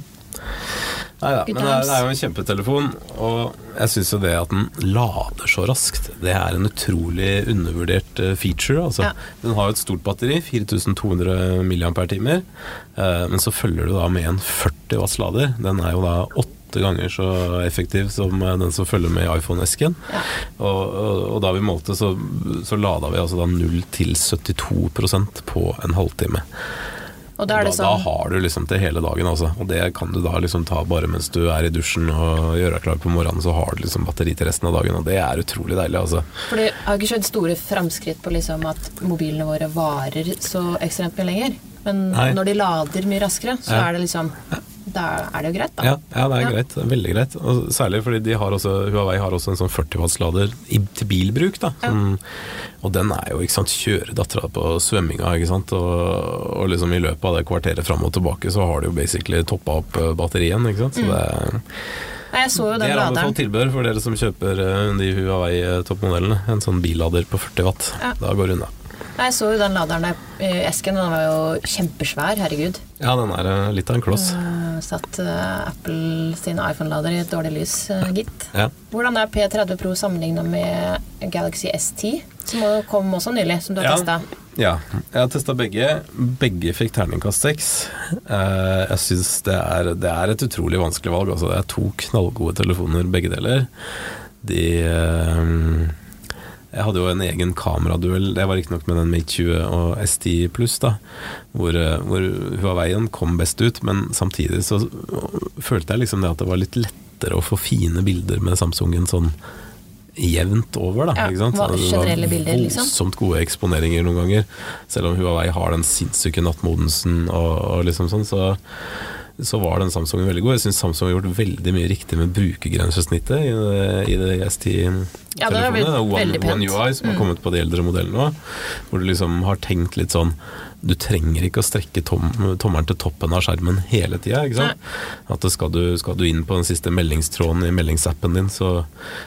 Nei da, men Good det er, times. det er jo en kjempetelefon, og jeg syns jo det at den lader så raskt, det er en utrolig undervurdert eh, feature. Altså. Ja. Den har jo et stort batteri, 4200 mAh, eh, men så følger du da med en 40 watts lader. Den er jo da åtte ganger så effektiv som eh, den som følger med i iPhone-esken. Ja. Og, og, og da vi målte, så, så lada vi altså da 0 til 72 på en halvtime. Og da er det Da, da sånn har du liksom til hele dagen, altså. Og det kan du da liksom ta bare mens du er i dusjen og gjør deg klar på morgenen, så har du liksom batteri til resten av dagen, og det er utrolig deilig, altså. For det har ikke skjedd store framskritt på liksom at mobilene våre varer så ekstremt mye lenger. Men Nei. når de lader mye raskere, så Ja. er det liksom Da er det jo greit, da. Ja, ja det er Ja. greit. Veldig greit. Og særlig fordi de har også, Huawei har også en sånn 40 watts lader i, til bilbruk. da. Som, Og den er jo, ikke sant, kjører dattera på svømminga, ikke sant. Og, og liksom i løpet av det kvarteret fram og tilbake så har du jo basically toppa opp eh, batterien, Mm. ikke sant. Så det er Nei, jeg så jo Det den er anbefalt laderen. tilbehør for dere som kjøper eh, de Huawei-toppmodellene. En sånn billader på 40 watt. Ja. Da går det unna. Nei, jeg så jo den laderen der i esken, og den var jo kjempesvær. Herregud. Ja, den er eh, litt av en kloss. Eh, Satt eh, Apple sin iPhone-lader i et dårlig lys, eh, gitt. Ja. Hvordan er P30 Pro sammenligna med Galaxy S10, som også kom også nylig, som du har Ja. testa? ja. Jeg har testa begge. Begge fikk terningkast seks. Eh, Jeg syns det, er- det er et utrolig vanskelig valg. Altså, det er to knallgode telefoner, begge deler. De eh, Jeg hadde jo en egen kameraduell. Det var riktignok med den Mate 20 og S10 pluss, da. Hvor, eh, hvor Huaweien kom best ut, men samtidig så følte jeg liksom det at det var litt lettere å få fine bilder med Samsungen sånn jevnt over, da. Ja, ikke sant? Altså, hva- det var generelle bilder, liksom. voldsomt gode eksponeringer noen ganger. Selv om Huawei har den sinnssyke nattmodensen og, og liksom sånn, så så var den Samsungen veldig god. Jeg syns Samsung har gjort veldig mye riktig med brukergrensesnittet i det- i det S10-telefonene. Ja, det har blitt veldig pent. Mm. One UI som har kommet på de eldre modellene òg, hvor du liksom har tenkt litt sånn Du trenger ikke å strekke tom, tommelen til toppen av skjermen hele tida, ikke sant. At det skal, du, skal du inn på den siste meldingstråden i meldingsappen din, så,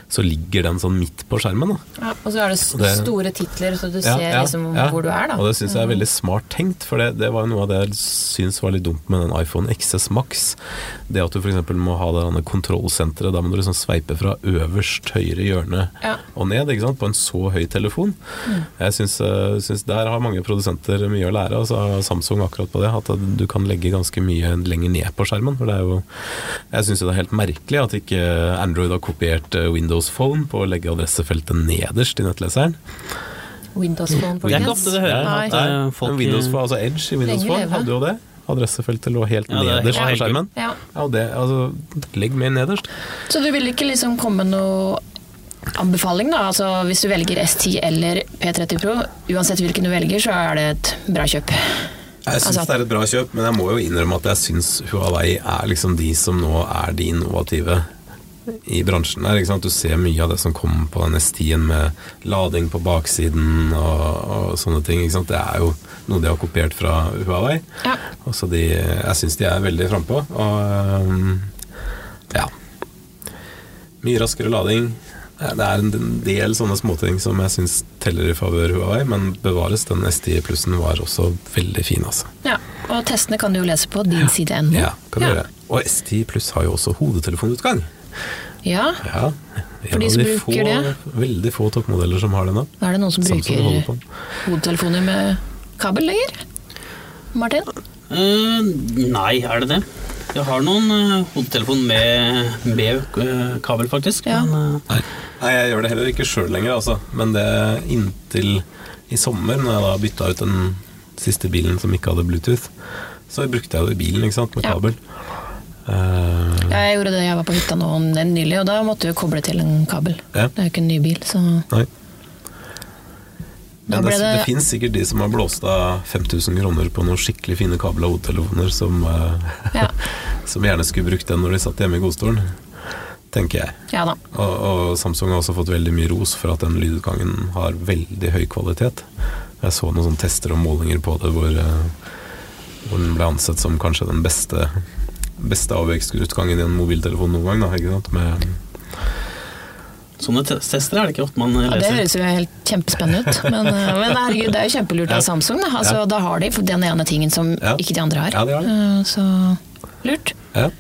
så ligger den sånn midt på skjermen. da Ja, og så er det s- Og det- store titler, så du ja, ser ja, liksom ja. hvor du er, da. Mm. Og det syns jeg er veldig smart tenkt, for det, det var jo noe av det jeg syns var litt dumt med den iPhone XS Max. Det at du f.eks. må ha det derne kontrollsenteret, da må du liksom sveipe fra øverst høyre hjørne Ja. Mm. og ned, ikke sant, på en så høy telefon. Jeg syns, eh, syns der har mange produsenter mye å lære, og så har Samsung akkurat på det, at du kan legge ganske mye lenger ned på skjermen. For det er jo Jeg syns det er helt merkelig at ikke Android har kopiert eh, Windows Phone på å legge adressefeltet nederst i nettleseren. Windows Phone, Det er ikke folkens. ofte det hører Nei. at eh, folk Men Windows Phone, altså Edge i Windows Lenge Phone leve. hadde jo det. Adressefeltet lå helt Ja, det er helt nederst på helt skjermen. Ja. Ja, og det, altså, legg mer nederst. Så du vil ikke liksom komme med noe anbefaling, da? Altså hvis du velger S10 eller P30 Pro, uansett hvilken du velger, så er det et bra kjøp. Jeg syns Altså- det er et bra kjøp, men jeg må jo innrømme at jeg syns Huawei er liksom de som nå er de innovative i bransjen der. Ikke sant? Du ser mye av det som kommer på den S10-en med lading på baksiden og, og sånne ting. Ikke sant? Det er jo noe de har kopiert fra Huawei. Ja. Og så Altså, de, jeg syns de er veldig frampå. Og øhm, ja. Mye raskere lading. Det er en del sånne småting som jeg syns teller i favør Huawei, men bevares, den S10 plussen var også veldig fin, altså. ja. Og testene kan du jo lese på din side ennå. Ja, kan du Ja. gjøre. Og S10 pluss har jo også hodetelefonutgang. Ja. Ja, For de som bruker det. veldig få toppmodeller som har det nå. Er det noen som Samsung holder bruker på. hodetelefoner med kabel lenger? Martin? Eh, nei, er det det? Jeg har noen eh, hodetelefon med, med eh, kabel, faktisk. Ja. Men, eh, Nei, jeg gjør det heller ikke sjøl lenger, altså. Men det inntil i sommer, når jeg da bytta ut den siste bilen som ikke hadde Bluetooth, så brukte jeg det i bilen, ikke sant, med Ja. kabel. Eh, Jeg gjorde det, jeg var på hytta nå nylig, og da måtte du koble til en kabel. Ja. Det er jo ikke en ny bil, så nei. Da Men ble det, det det- finnes sikkert de som har blåst av 5000 kroner på noen skikkelig fine kabel- og hodetelefoner som, eh, ja, som gjerne skulle brukt den når de satt hjemme i godstolen, tenker jeg. ja da. Og, og Samsung har også fått veldig mye ros for at den lydutgangen har veldig høy kvalitet. Jeg så noen sånne tester og målinger på det hvor, eh, hvor den ble ansett som kanskje den beste, beste avvekstutgangen i en mobiltelefon noen gang. Da, ikke sant? Med, Sånne te- tester er det ikke ofte man eh, Ja, det leser. høres jo helt kjempespennende ut, men, eh, men herregud, det er jo kjempelurt Ja. av Samsung. Da. Altså, Ja. da har de den ene tingen som Ja. ikke de andre har. Ja, de har det. Eh, Så lurt. ja.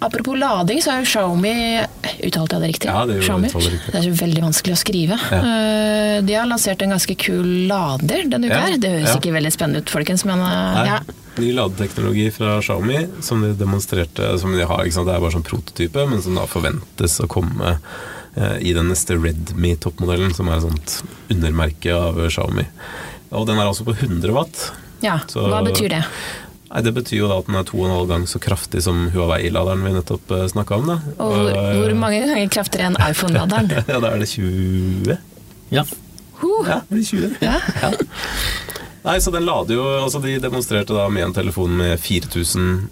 Apropos lading, så er jo Xiaomi Uttalte jeg det riktig? Ja, det gjorde- Xiaomi. uttaler riktig. Det er så veldig vanskelig å skrive. Eh, De har lansert en ganske kul lader denne uka Ja, her. Det høres ja. ikke veldig spennende ut, folkens, men eh, Nei, ja. Ny ladeteknologi fra Xiaomi som de demonstrerte som de har, ikke sant? Det er bare sånn prototype, men som da forventes å komme eh, i den neste Redme-toppmodellen, som er et sånt undermerke av Xiaomi. Og den er altså på 100 watt. ja. Så- Hva betyr det? Nei, Det betyr jo da at den er to og en halv gang så kraftig som Huawei-laderen vi nettopp snakka om. Da. Og hvor, Og, eh, hvor mange ganger kraftigere enn iPhone-laderen? Ja, da er det 20. Ja. Huh. Ja, det blir 20. Ja. Nei, så den lader jo Altså, de demonstrerte da med en telefon med 4000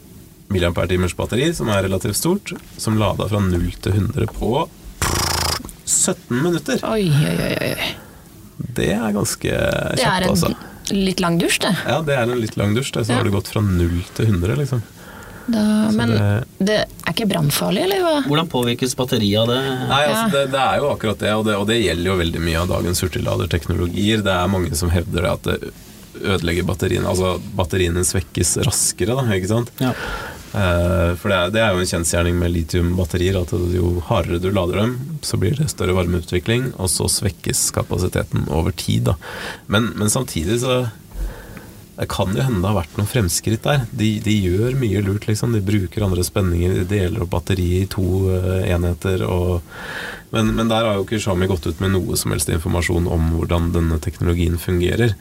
mAh batteri, som er relativt stort, som lada fra 0 til 100 på 17 minutter. Oi, oi, oi. oi. Det er ganske Det er kjapt, en altså. litt lang dusj, det. Ja, det er en litt lang dusj, det. Så Ja. har det gått fra 0 til 100, liksom. Da, men det... det- er ikke brannfarlig, eller hva? Hvordan påvirkes batteriet av det? Nei, altså, Ja. det, det er jo akkurat det og, det, og det gjelder jo veldig mye av dagens hurtigladerteknologier. Det er mange som hevder det at det ødelegger batteriene, altså batteriene svekkes raskere, da, ikke sant? Ja. Eh, For det er, det er jo en kjensgjerning med litiumbatterier at jo hardere du lader dem, så blir det større varmeutvikling, og så svekkes kapasiteten over tid, da. Men, men samtidig så det kan jo hende det har vært noen fremskritt der. De, de gjør mye lurt, liksom. De bruker andre spenninger, de deler opp batteriet i to eh, enheter og Men, men der har jo ikke Xiaomi gått ut med noe som helst informasjon om hvordan denne teknologien fungerer.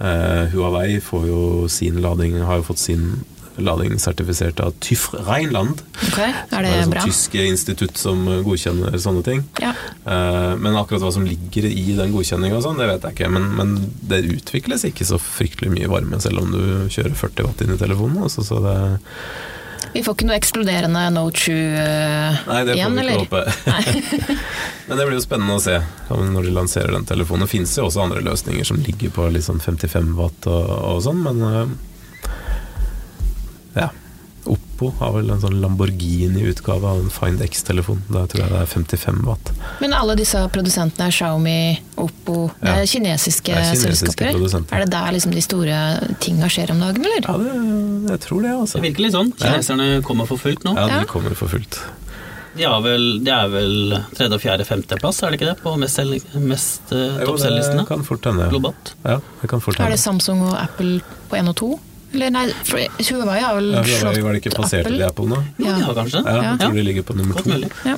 Eh, Huawei får jo sin lading, har jo fått sin lading sertifisert av TÜV Rheinland. Ok, Er Det det er liksom et sånt bra? tysk institutt som eh, godkjenner sånne ting. Ja. Eh, Men akkurat hva som ligger i den godkjenninga, sånn, det vet jeg ikke. Men, men det utvikles ikke så fryktelig mye varme, selv om du kjører 40 watt inn i telefonen. Altså, så det, Vi får ikke noe ekskluderende no true eh, nei, det får igjen, vi ikke eller? håpe. men det blir jo spennende å se om- når de lanserer den telefonen. Det fins jo også andre løsninger som ligger på litt sånn 55 watt og, og sånn, men eh, ja. Oppo har vel en sånn Lamborghini-utgave av en Find X-telefon. Der tror jeg det er 55 watt. Men alle disse produsentene er Xiaomi, Oppo Det Ja. er kinesiske, Det er kinesiske selskaper. produsenter. Er det der liksom de store tinga skjer om dagen, eller? Ja, det, jeg tror det, altså. Det virker litt sånn. Ja. Kineserne kommer for fullt nå. Ja, Ja. de kommer for fullt. De er vel, de er vel tredje, og fjerde, femteplass, er det ikke det? På mest, sel- mest eh, Jo, toppselgerlistene det kan fort hende. ja. globalt. Ja, det kan fort Er hende. det Samsung og Apple på én og to? Eller nei, for Huawei har vel Ja, vi var- sånn slått vi var ikke passert Apple. de er på nå? Jo, Ja. de har kanskje det. Ja, jeg tror Ja. de ligger på nummer Godt to. mulig. Ja.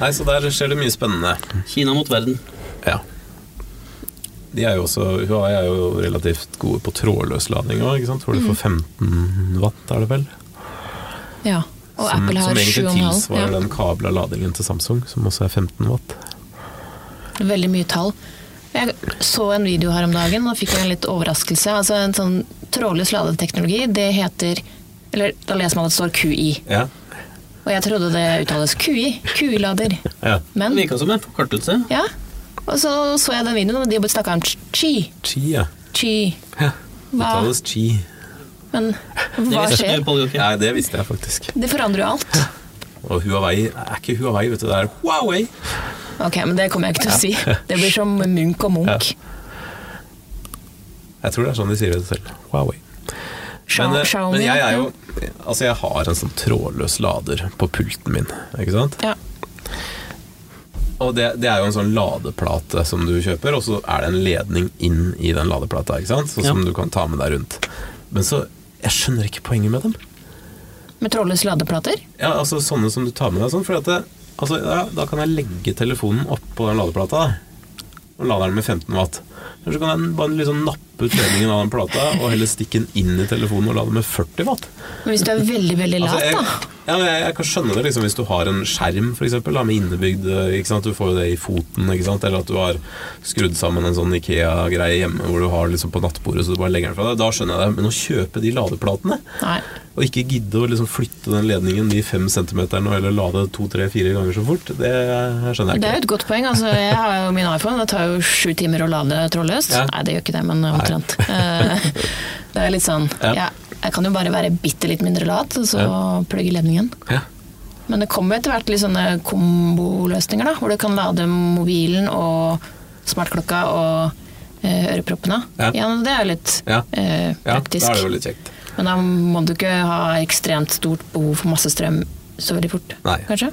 Nei, så der skjer det mye spennende. Kina mot verden. Ja. De er jo også, Huawei er jo relativt gode på trådløs lading òg, ikke sant. Hvor du Mm. får 15 watt, er det vel? ja. Og Som, Apple som har egentlig 7,5. tilsvarer Ja. den kabla ladingen til Samsung, som også er 15 watt. Veldig mye tall. Jeg så en video her om dagen og fikk en litt overraskelse. Altså En sånn trådløs ladeteknologi, det heter Eller da leser man at det står QI. Ja. Og jeg trodde det uttales QI. QI-lader. ja. Det Men virka som en forkortelse. ja. Og så så jeg den videoen, og de snakka om chi. Qi, ja. Chi. ja. Hva? Uttales qi. Men Det hva visste skjer? Paul Joachim. Nei, det visste jeg faktisk. Det forandrer jo alt. Og Huawei er ikke Huawei, vet du. Det er Huawei. Ok, men det kommer jeg ikke til å si. Det blir som Munch og Munch. Jeg tror det er sånn de sier det selv. Huawei. Xia- Men, eh, Xiaomi. men jeg er jo Altså, jeg har en sånn trådløs lader på pulten min, ikke sant? ja. Og det, det er jo en sånn ladeplate som du kjøper, og så er det en ledning inn i den ladeplata, ikke sant? Sånn som Ja. du kan ta med deg rundt. Men så Jeg skjønner ikke poenget med dem. Med trådløse ladeplater? Ja, altså sånne som du tar med deg sånn, for at det, altså, ja, da kan jeg legge telefonen oppå den ladeplata. da. Og lader den med 15 watt. Eller så kan jeg bare liksom nappe ut ledningen av den plata og heller stikke den inn i telefonen og lade med 40 watt. Men hvis du er veldig, veldig lat, Altså, jeg, da. ja, men jeg, jeg kan skjønne det liksom, hvis du har en skjerm for eksempel, da, med innebygd eh, ikke sant? Du får jo det i foten, ikke sant? eller at du har skrudd sammen en sånn Ikea-greie hjemme hvor du har liksom, på nattbordet så du bare legger den fra deg. Da skjønner jeg det. Men å kjøpe de ladeplatene Nei. og ikke gidde å liksom flytte den ledningen de fem centimeterne og heller lade to, tre, fire ganger så fort, det skjønner jeg Det er ikke. jo et godt poeng. Altså, jeg har jo min iPhone, det tar jo sju timer å lade trådløst. Ja. Nei, det gjør ikke det, men omtrent. Eh, Det er litt sånn Ja. ja, Jeg kan jo bare være bitte litt mindre lat, og så plugge ledningen. Ja. Men det kommer etter hvert litt sånne komboløsninger, da. Hvor du kan lade mobilen og smartklokka og eh, øreproppene. Ja. Ja. det er jo litt Ja. eh, Ja, praktisk. da er det jo litt kjekt. Men da må du ikke ha ekstremt stort behov for masse strøm så veldig fort, Nei. kanskje?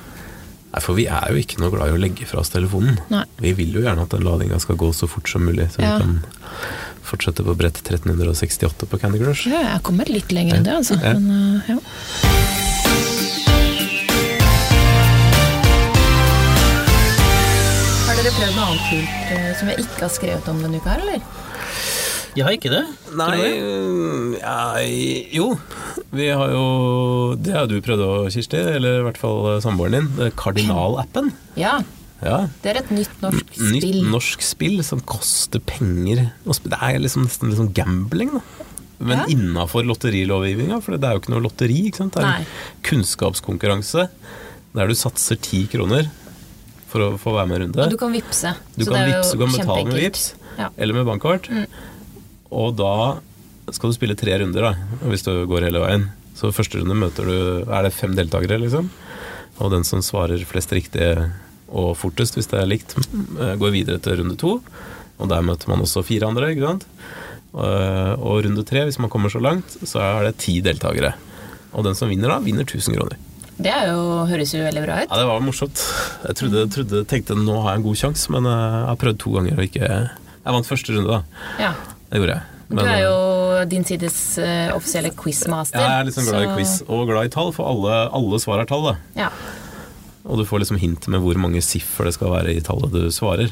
Nei, for vi er jo ikke noe glad i å legge fra oss telefonen. Nei. Vi vil jo gjerne at den ladinga skal gå så fort som mulig, så Ja. vi kan fortsette på brett 1368 på Candy Crush. Ja, jeg kommer litt lenger enn det, altså. Ja. Men, eh, ja. Har dere prøvd noe annet kult eh, som jeg ikke har skrevet om denne uka her, eller? Jeg har ikke det. Nei øh, ja, Jo. Vi har jo Det har du prøvd òg, Kirsti. Eller i hvert fall eh, samboeren din. eh, Kardinal-appen. Ja. Ja. Det er et nytt norsk Nytt spill. norsk spill som koster penger. å sp- Det er liksom nesten litt sånn gambling, da. Men Ja. innafor lotterilovgivninga, for det er jo ikke noe lotteri. ikke sant? Det er Nei. en kunnskapskonkurranse der du satser ti kroner for å få være med i en runde. Og du kan vippse. Du så kan, det er jo vips, du kan betale med kjempeenkelt. vips Ja. Mm. eller med bankkort. Og da skal du spille tre runder, da, hvis du går hele veien. Så første runde møter du Er det fem deltakere, liksom? Og den som svarer flest riktige og fortest, hvis det er likt, eh, går videre til runde to. Og der møter man også fire andre, ikke sant? Eh, Og runde tre, hvis man kommer så langt, så er det ti deltakere. Og den som vinner da, vinner 1000 kroner. Det er jo, høres jo veldig bra ut. Ja, det var morsomt. Jeg trodde, trodde tenkte nå har jeg en god sjanse, men eh, jeg har prøvd to ganger og ikke Jeg vant første runde, da. Ja. Det gjorde jeg. Du er eh, jo din sides eh, offisielle ja, quizmaster. jeg er litt sånn glad i så- quiz og glad i tall, for alle, alle svar er tall. da. Ja. Og du får liksom hint med hvor mange siffer det skal være i tallet du svarer.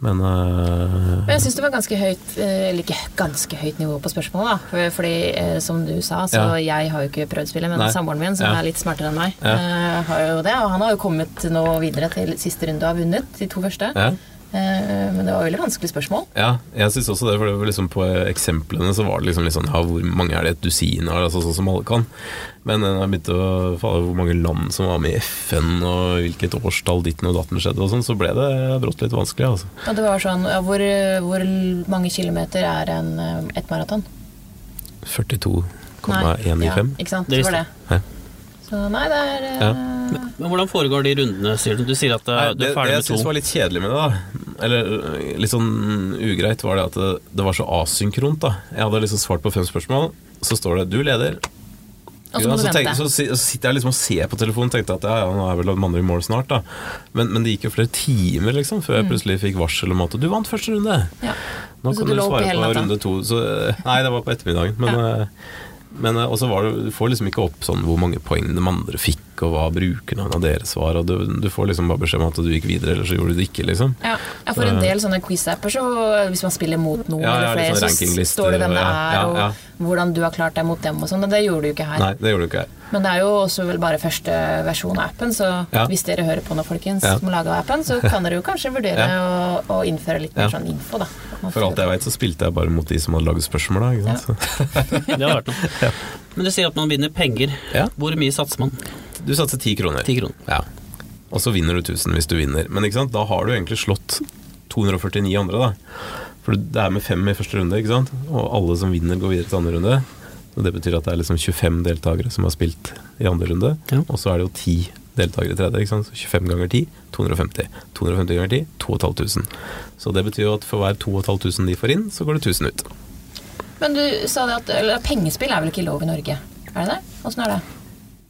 Men eh, Men jeg syns det var ganske høyt, eh, eller ikke ganske høyt nivå på spørsmålet. da. For- Fordi eh, som du sa, så jeg har jo ikke prøvd spillet, men Nei. samboeren min, som Ja. er litt smartere enn meg, Ja. eh, har jo det. Og han har jo kommet nå videre til siste runde og har vunnet de to første. ja, Eh, Men det var veldig vanskelig spørsmål. ja, jeg syns også det. For det var liksom på eksemplene så var det liksom litt sånn ja, hvor mange er det et dusin av? Altså sånn som alle kan. Men eh, jeg begynte å falle hvor mange land som var med i FN, og hvilket årstall ditten og datten skjedde og sånn, så ble det brått litt vanskelig, altså. Og det var sånn ja, hvor, hvor mange kilometer er en, eh, et maraton? 42,1 i ja, 5. Ikke sant. Det Det var visste det. Så nei, det er eh, Ja. Men hvordan foregår de rundene, sier du? Du sier at eh, Nei, du er det, det ferdig jeg med synes to. var litt kjedelig med det, da, eller øh, litt sånn ugreit, var det at det, det var så asynkront. da. Jeg hadde liksom svart på fem spørsmål, så står det 'du leder'. Og så må Ja, du tenk- vente. så, si- så sitter jeg liksom og ser på telefonen og tenkte at ja, ja, nå er vel de andre i mål snart, da. Men, men det gikk jo flere timer liksom, før jeg plutselig fikk varsel om at 'du vant første runde'. Ja. Nå Mm. Så kan du du lå oppe svare hele på natta? runde to. Så, eh, nei, det var på ettermiddagen. Men, eh, men eh, og så var det, du får liksom ikke opp sånn hvor mange poeng de andre fikk, og hva brukernavnet deres var. Og du, du får liksom bare beskjed om at du gikk videre, eller så gjorde du det ikke, liksom. Ja, ja, for en del sånne quiz-apper, så hvis man spiller mot noen Ja, ja, eller litt flere, sånn så rankinglister står det hvem og det ja, er, ja, og ja. hvordan du har klart deg mot dem og sånn, og det gjorde du ikke her. Nei, det gjorde du ikke. her. Men det er jo også vel bare første versjon av appen, så Ja. hvis dere hører på nå, folkens, Ja. som lager appen, så kan dere jo kanskje vurdere å, å innføre litt mer Ja. sånn info, da. At man For alt jeg veit, så spilte jeg bare mot de som hadde lagd spørsmål, da. Ikke sant? Det har vært noe. Men du sier at man vinner penger. Ja. Hvor mye satser man? Du satser ti kroner. Ti kroner. Ja. Og så vinner du 1000 hvis du vinner. Men ikke sant? da har du egentlig slått 249 andre, da. For det er med fem i første runde, ikke sant? og alle som vinner, går videre til andre runde. Og det betyr at det er liksom 25 deltakere som har spilt i andre runde. Ja. Og så er det jo 10 deltakere i tredje. Ikke sant? Så 25 ganger 10 250. 250 ganger 10 2500. Så det betyr jo at for hver 2500 de får inn, så går det 1000 ut. Men du sa det at eller, pengespill er vel ikke lov i Norge? Er det det? Åssen er det?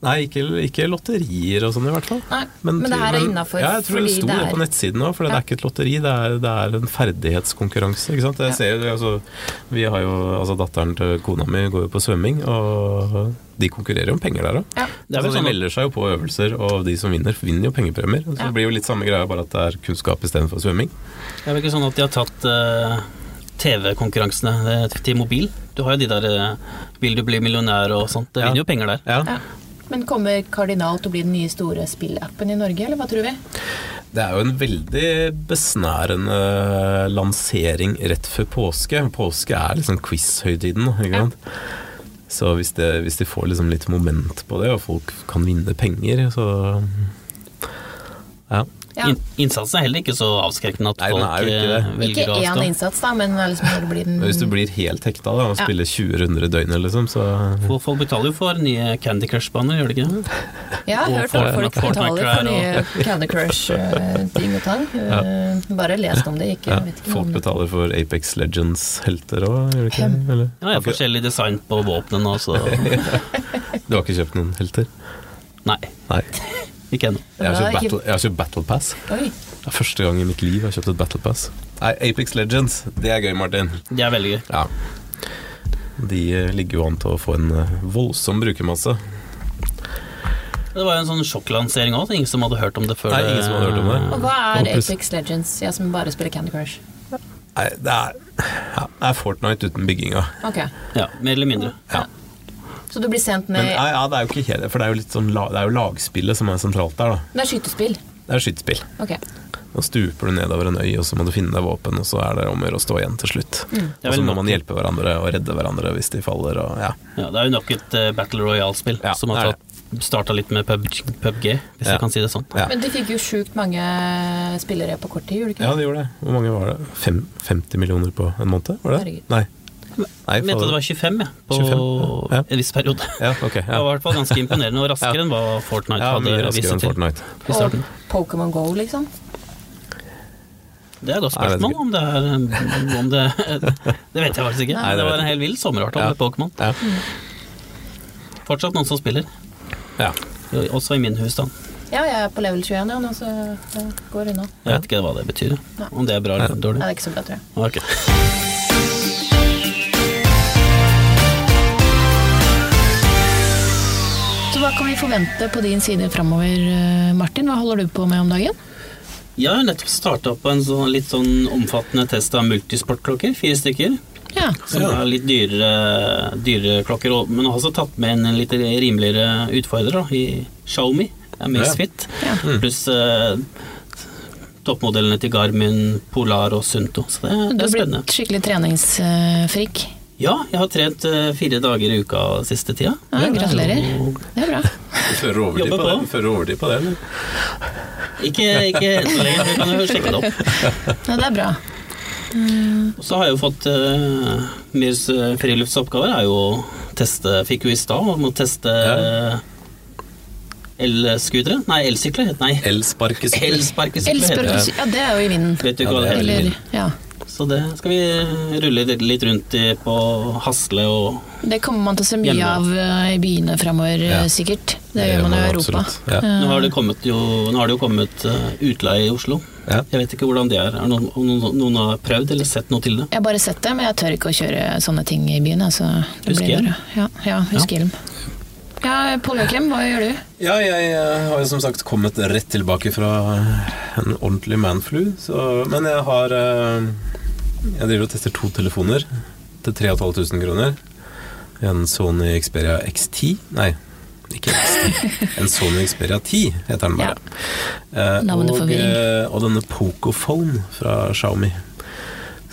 Nei, ikke, ikke lotterier og sånn i hvert fall. Nei, men det her er innenfor, Ja, jeg tror det fordi sto det det er- på nettsiden òg, for det Ja. er ikke et lotteri, det er, det er en ferdighetskonkurranse. Ikke sant? Jeg Ja. ser, jo, altså, vi har jo, altså Datteren til kona mi går jo på svømming, og de konkurrerer om penger der òg. Ja. Det er vel altså, sånn de at- melder seg jo på øvelser, og de som vinner, vinner jo pengepremier. Så Ja. det blir jo litt samme greia, bare at det er kunnskap istedenfor svømming. Det er vel ikke sånn at de har tatt eh, TV-konkurransene eh, til mobil? Du har jo de der eh, 'Vil du bli millionær' og sånt. Det Ja. vinner jo penger der. Ja. Ja. Men kommer Kardinal til å bli den nye store spillappen i Norge, eller hva tror vi? Det er jo en veldig besnærende lansering rett før påske. Påske er liksom quiz-høytiden, da, ikke sant. Så hvis, det, hvis de får liksom litt moment på det, og folk kan vinne penger, så ja. Ja. In innsatsen er heller ikke så avskrekkende at Nei, den er folk jo eh, ikke det. velger Ikke å én avstå. innsats, da, men liksom når det blir den Men hvis du blir helt hekta da, og Ja. spiller 20 runder i døgnet, liksom, så Folk- Folk betaler jo for nye Candy Crush-baner, gjør de ikke det? Jeg har Og hørt om folk betaler Fortnite- for Fortnite-klær nye Candy Crush-ting og tang. Eh, Bare lest om det, ikke ja, vet ikke Folk om- betaler for Apex Legends-helter òg, gjør de ikke? det? Eller? Ja, jeg har forskjellig design på våpnene også. Du har ikke kjøpt noen helter? Nei, Nei. ikke ennå. Jeg har Bra, kjøpt ikke- Battle, jeg har kjøpt battle Pass. Oi, Det er første gang i mitt liv jeg har kjøpt et Battle Pass. Nei, Apex Legends, det er gøy, Martin. Det er veldig gøy. Ja. De eh, ligger jo an til å få en eh, voldsom brukermasse. Det var jo en sånn sjokklansering òg, ingen som hadde hørt om det før. Nei, ingen som hadde hørt om det. og hva er Og pluss- Apex Legends, jeg som bare spiller Candy Crush? Nei, det er, ja, det er Fortnite uten bygginga. Ok, eh, Ja, Mer eller mindre. Ja. Så du blir sendt Men ned ja, ja, det er jo ikke helt For det er jo litt sånn la, Det er jo lagspillet som er sentralt der, da. Det er skytespill. Det er skytespill. Ok. Nå stuper du nedover en øy, og så må du finne deg våpen, og så er det om å gjøre å stå igjen til slutt. Det er vel Og så må nok- man hjelpe hverandre og redde hverandre hvis de faller, og ja. Ja, det er jo nok et eh, Battle Royale-spill Ja, som har det er tatt, starta litt med PubG, PubG hvis Ja. jeg kan si det sånn. ja. Men de fikk jo sjukt mange spillere på kort tid, gjorde de Ja, ikke det? det gjorde det. Hvor mange var det? Fem, 50 millioner på en måned? Var det? Herregud. Nei. Nei, Jeg mente fader. det var 25 jeg, på 25, ja. Ja. en viss periode. Ja, ok. Det var i Ja. hvert fall ganske imponerende, og raskere enn hva Fortnite ja, mye hadde vist raskere seg enn til. Fortnite. i Og starten. Pokémon Go, liksom. Det er et godt spørsmål om Nei, jeg vet det er eh, om det, det vet jeg faktisk ikke. Nei, det det vet var en jeg hel vill sommer i hvert Ja. fall med Pokémon. Ja. Fortsatt noen som spiller, Ja. også i min husstand. Ja, jeg er på level 21 ja, nå, så det går unna. Jeg vet ikke hva det betyr, om det er bra eller Nei, dårlig. det er ikke så bra, tror jeg. Ok. Så hva kan vi forvente på din side framover, Martin? Hva holder du på med om dagen? Jeg har nettopp starta på en sånn, litt sånn omfattende test av multisportklokker. Fire stykker. Ja. Som er litt dyrere, dyrere klokker, og- men har også tatt med en litt rimeligere utfordrer da, i Xiaomi. Amazfit. Ja. Mm. Pluss eh, toppmodellene til Garmin, Polar og Sunto. Så det, Du det har er spennende. blitt skikkelig treningsfrik. Ja, jeg har trent eh, fire dager i uka siste tida. Ja, gratulerer. Og Det er bra. Du fører overtid Jobber på på. det. Fører overtid på det, eller? Ikke, ikke helt så lenge, du kan jo sjekke det opp. Ja, det er bra. Og så har jeg jo fått uh, Myrs eh, friluftsoppgaver er jo å teste Fikk jo i stad om å teste Ja. eh, elskutere. Nei, elsykler. Nei, Elsparkesykkel. elsparkesykler heter det. Elsparkes... Ja, det er jo i vinden. Vet du Ja, hva det det er heter? Eller, ja. Så det skal vi rulle litt rundt i på Hasle og Det kommer man til å se mye Hjemme. av eh, i byene framover, Ja. sikkert. Det gjør man jo i Europa. absolutt. Ja. Nå har det, kommet jo, nå har det jo kommet eh, utleie i Oslo. Ja. Jeg vet ikke hvordan det er. Er det noen, om noen, noen har prøvd eller sett noe til det? Jeg har bare sett det, men jeg tør ikke å kjøre sånne ting i byen. Altså, det blir Huskehjelm? bare- Ja, ja huskehjelm. Ja, Pål Joakim, hva gjør du? Ja, jeg eh, har jo som sagt kommet rett tilbake fra en ordentlig manflu, så Men jeg har eh, Jeg driver og tester to telefoner til 3500 kroner. En Sony Xperia X10 Nei, ikke X10. En Sony Xperia 10 heter den bare. Eh, Navnet og, forvirring. eh, og denne Pocophone fra Xiaomi.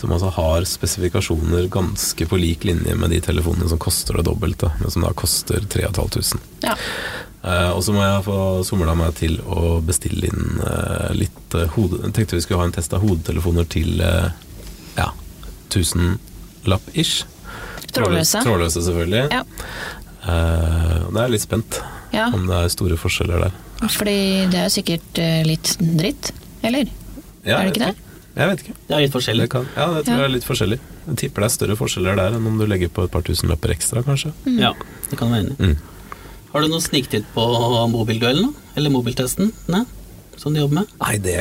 Som altså har spesifikasjoner ganske på lik linje med de telefonene som koster det dobbelte, men som da koster 3500. Ja. Eh, og så må jeg få somla meg til å bestille inn eh, litt eh, hode... Jeg tenkte vi skulle ha en test av hodetelefoner til eh, ja, 1000 lapp ish. Trådløse. Trådløse, selvfølgelig. Ja. Eh, og det er jeg litt spent ja. om det er store forskjeller der. Fordi det er jo sikkert eh, litt dritt, eller? Ja, Er det jeg ikke vet Jeg vet ikke. Det er litt forskjellig. Det kan, ja, det tror Ja. jeg er litt forskjellig. Jeg tipper det er større forskjeller der enn om du legger på et par tusenlapper ekstra, kanskje. Mm. Ja, det kan du være enig i. Mm. Har du noe sniktitt på mobilduellen? da? Eller mobiltesten? Nei? Som du jobber med? Nei, det,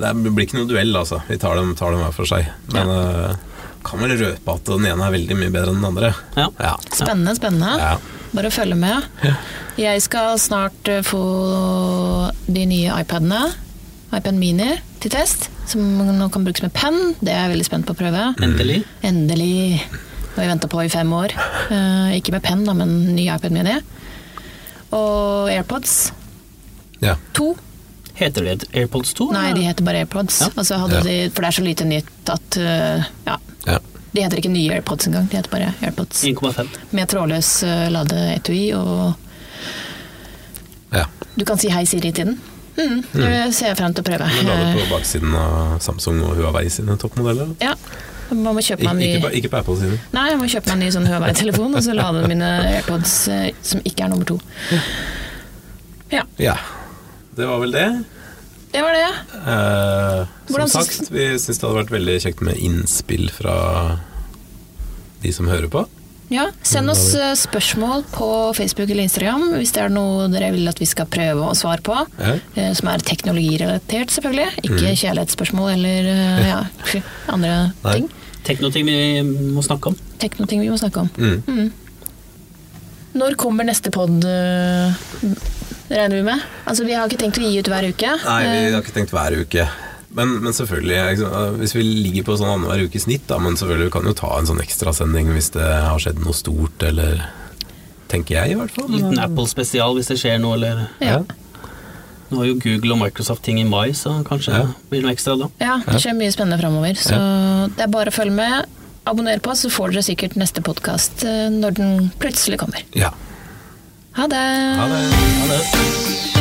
det blir ikke noe duell, altså. Vi tar dem, tar dem hver for seg. Men eh, kan vel røpe at den ene er veldig mye bedre enn den andre. Ja. Ja. Spennende, spennende. ja. Bare følge med. Jeg skal snart eh, få de nye iPadene. iPad Mini til test, som nå kan brukes med penn. Det er jeg veldig spent på å prøve. Endelig. Endelig. Det har vi venta på i fem år. Eh, ikke med penn, da, men ny iPad Mini. Og AirPods ja. 2. Heter det AirPods 2? Nei, de heter bare AirPods. Ja. Altså hadde Ja. de, for det er så lite nytt at eh, Ja. ja. De heter ikke nye AirPods engang, de heter bare AirPods. 1,5. Med trådløs eh, ladeetui og ja. Du kan si hei Siri til den. Mm, det ser jeg frem til å prøve. Men la det på baksiden av Samsung og Huawei sine toppmodeller. da. Ja, jeg må kjøpe Ik meg ikke, en på, ny ikke på Apple sine. Nei, jeg må kjøpe meg en ny sånn Huawei-telefon, og så lade mine AirPods eh, som ikke er nummer to. Ja, Ja. Det var vel det. det var det. Eh, som Hvordan syns- sagt, vi syns det hadde vært veldig kjekt med innspill fra de som hører på. Ja, Send oss eh, spørsmål på Facebook eller Instagram hvis det er noe dere vil at vi skal prøve å svare på. Ja. Mm. eh, Som er teknologirelatert, selvfølgelig. Ikke kjærlighetsspørsmål eller eh, ja, andre Nei. ting. Teknoting vi må snakke om. Teknoting vi må snakke om. Mm. Når kommer neste pod, øh, regner vi med? Altså, Vi har ikke tenkt å gi ut hver uke. Nei, vi Eh, har ikke tenkt hver uke. Men, men selvfølgelig, liksom, hvis vi ligger på sånn annenhver uke i snitt, da, men selvfølgelig vi kan jo ta en sånn ekstrasending hvis det har skjedd noe stort, eller Tenker jeg, i hvert fall. En liten Apple-spesial hvis det skjer noe, eller ja. Ja. Nå har jo Google og Microsoft ting i mai, så kanskje Ja. blir det noe ekstra da. ja, det skjer mye spennende framover. Så det er bare å følge med. Abonner på oss, så får dere sikkert neste eh, podkast når den plutselig kommer. Ja. Ha det! Ha det. Ha det.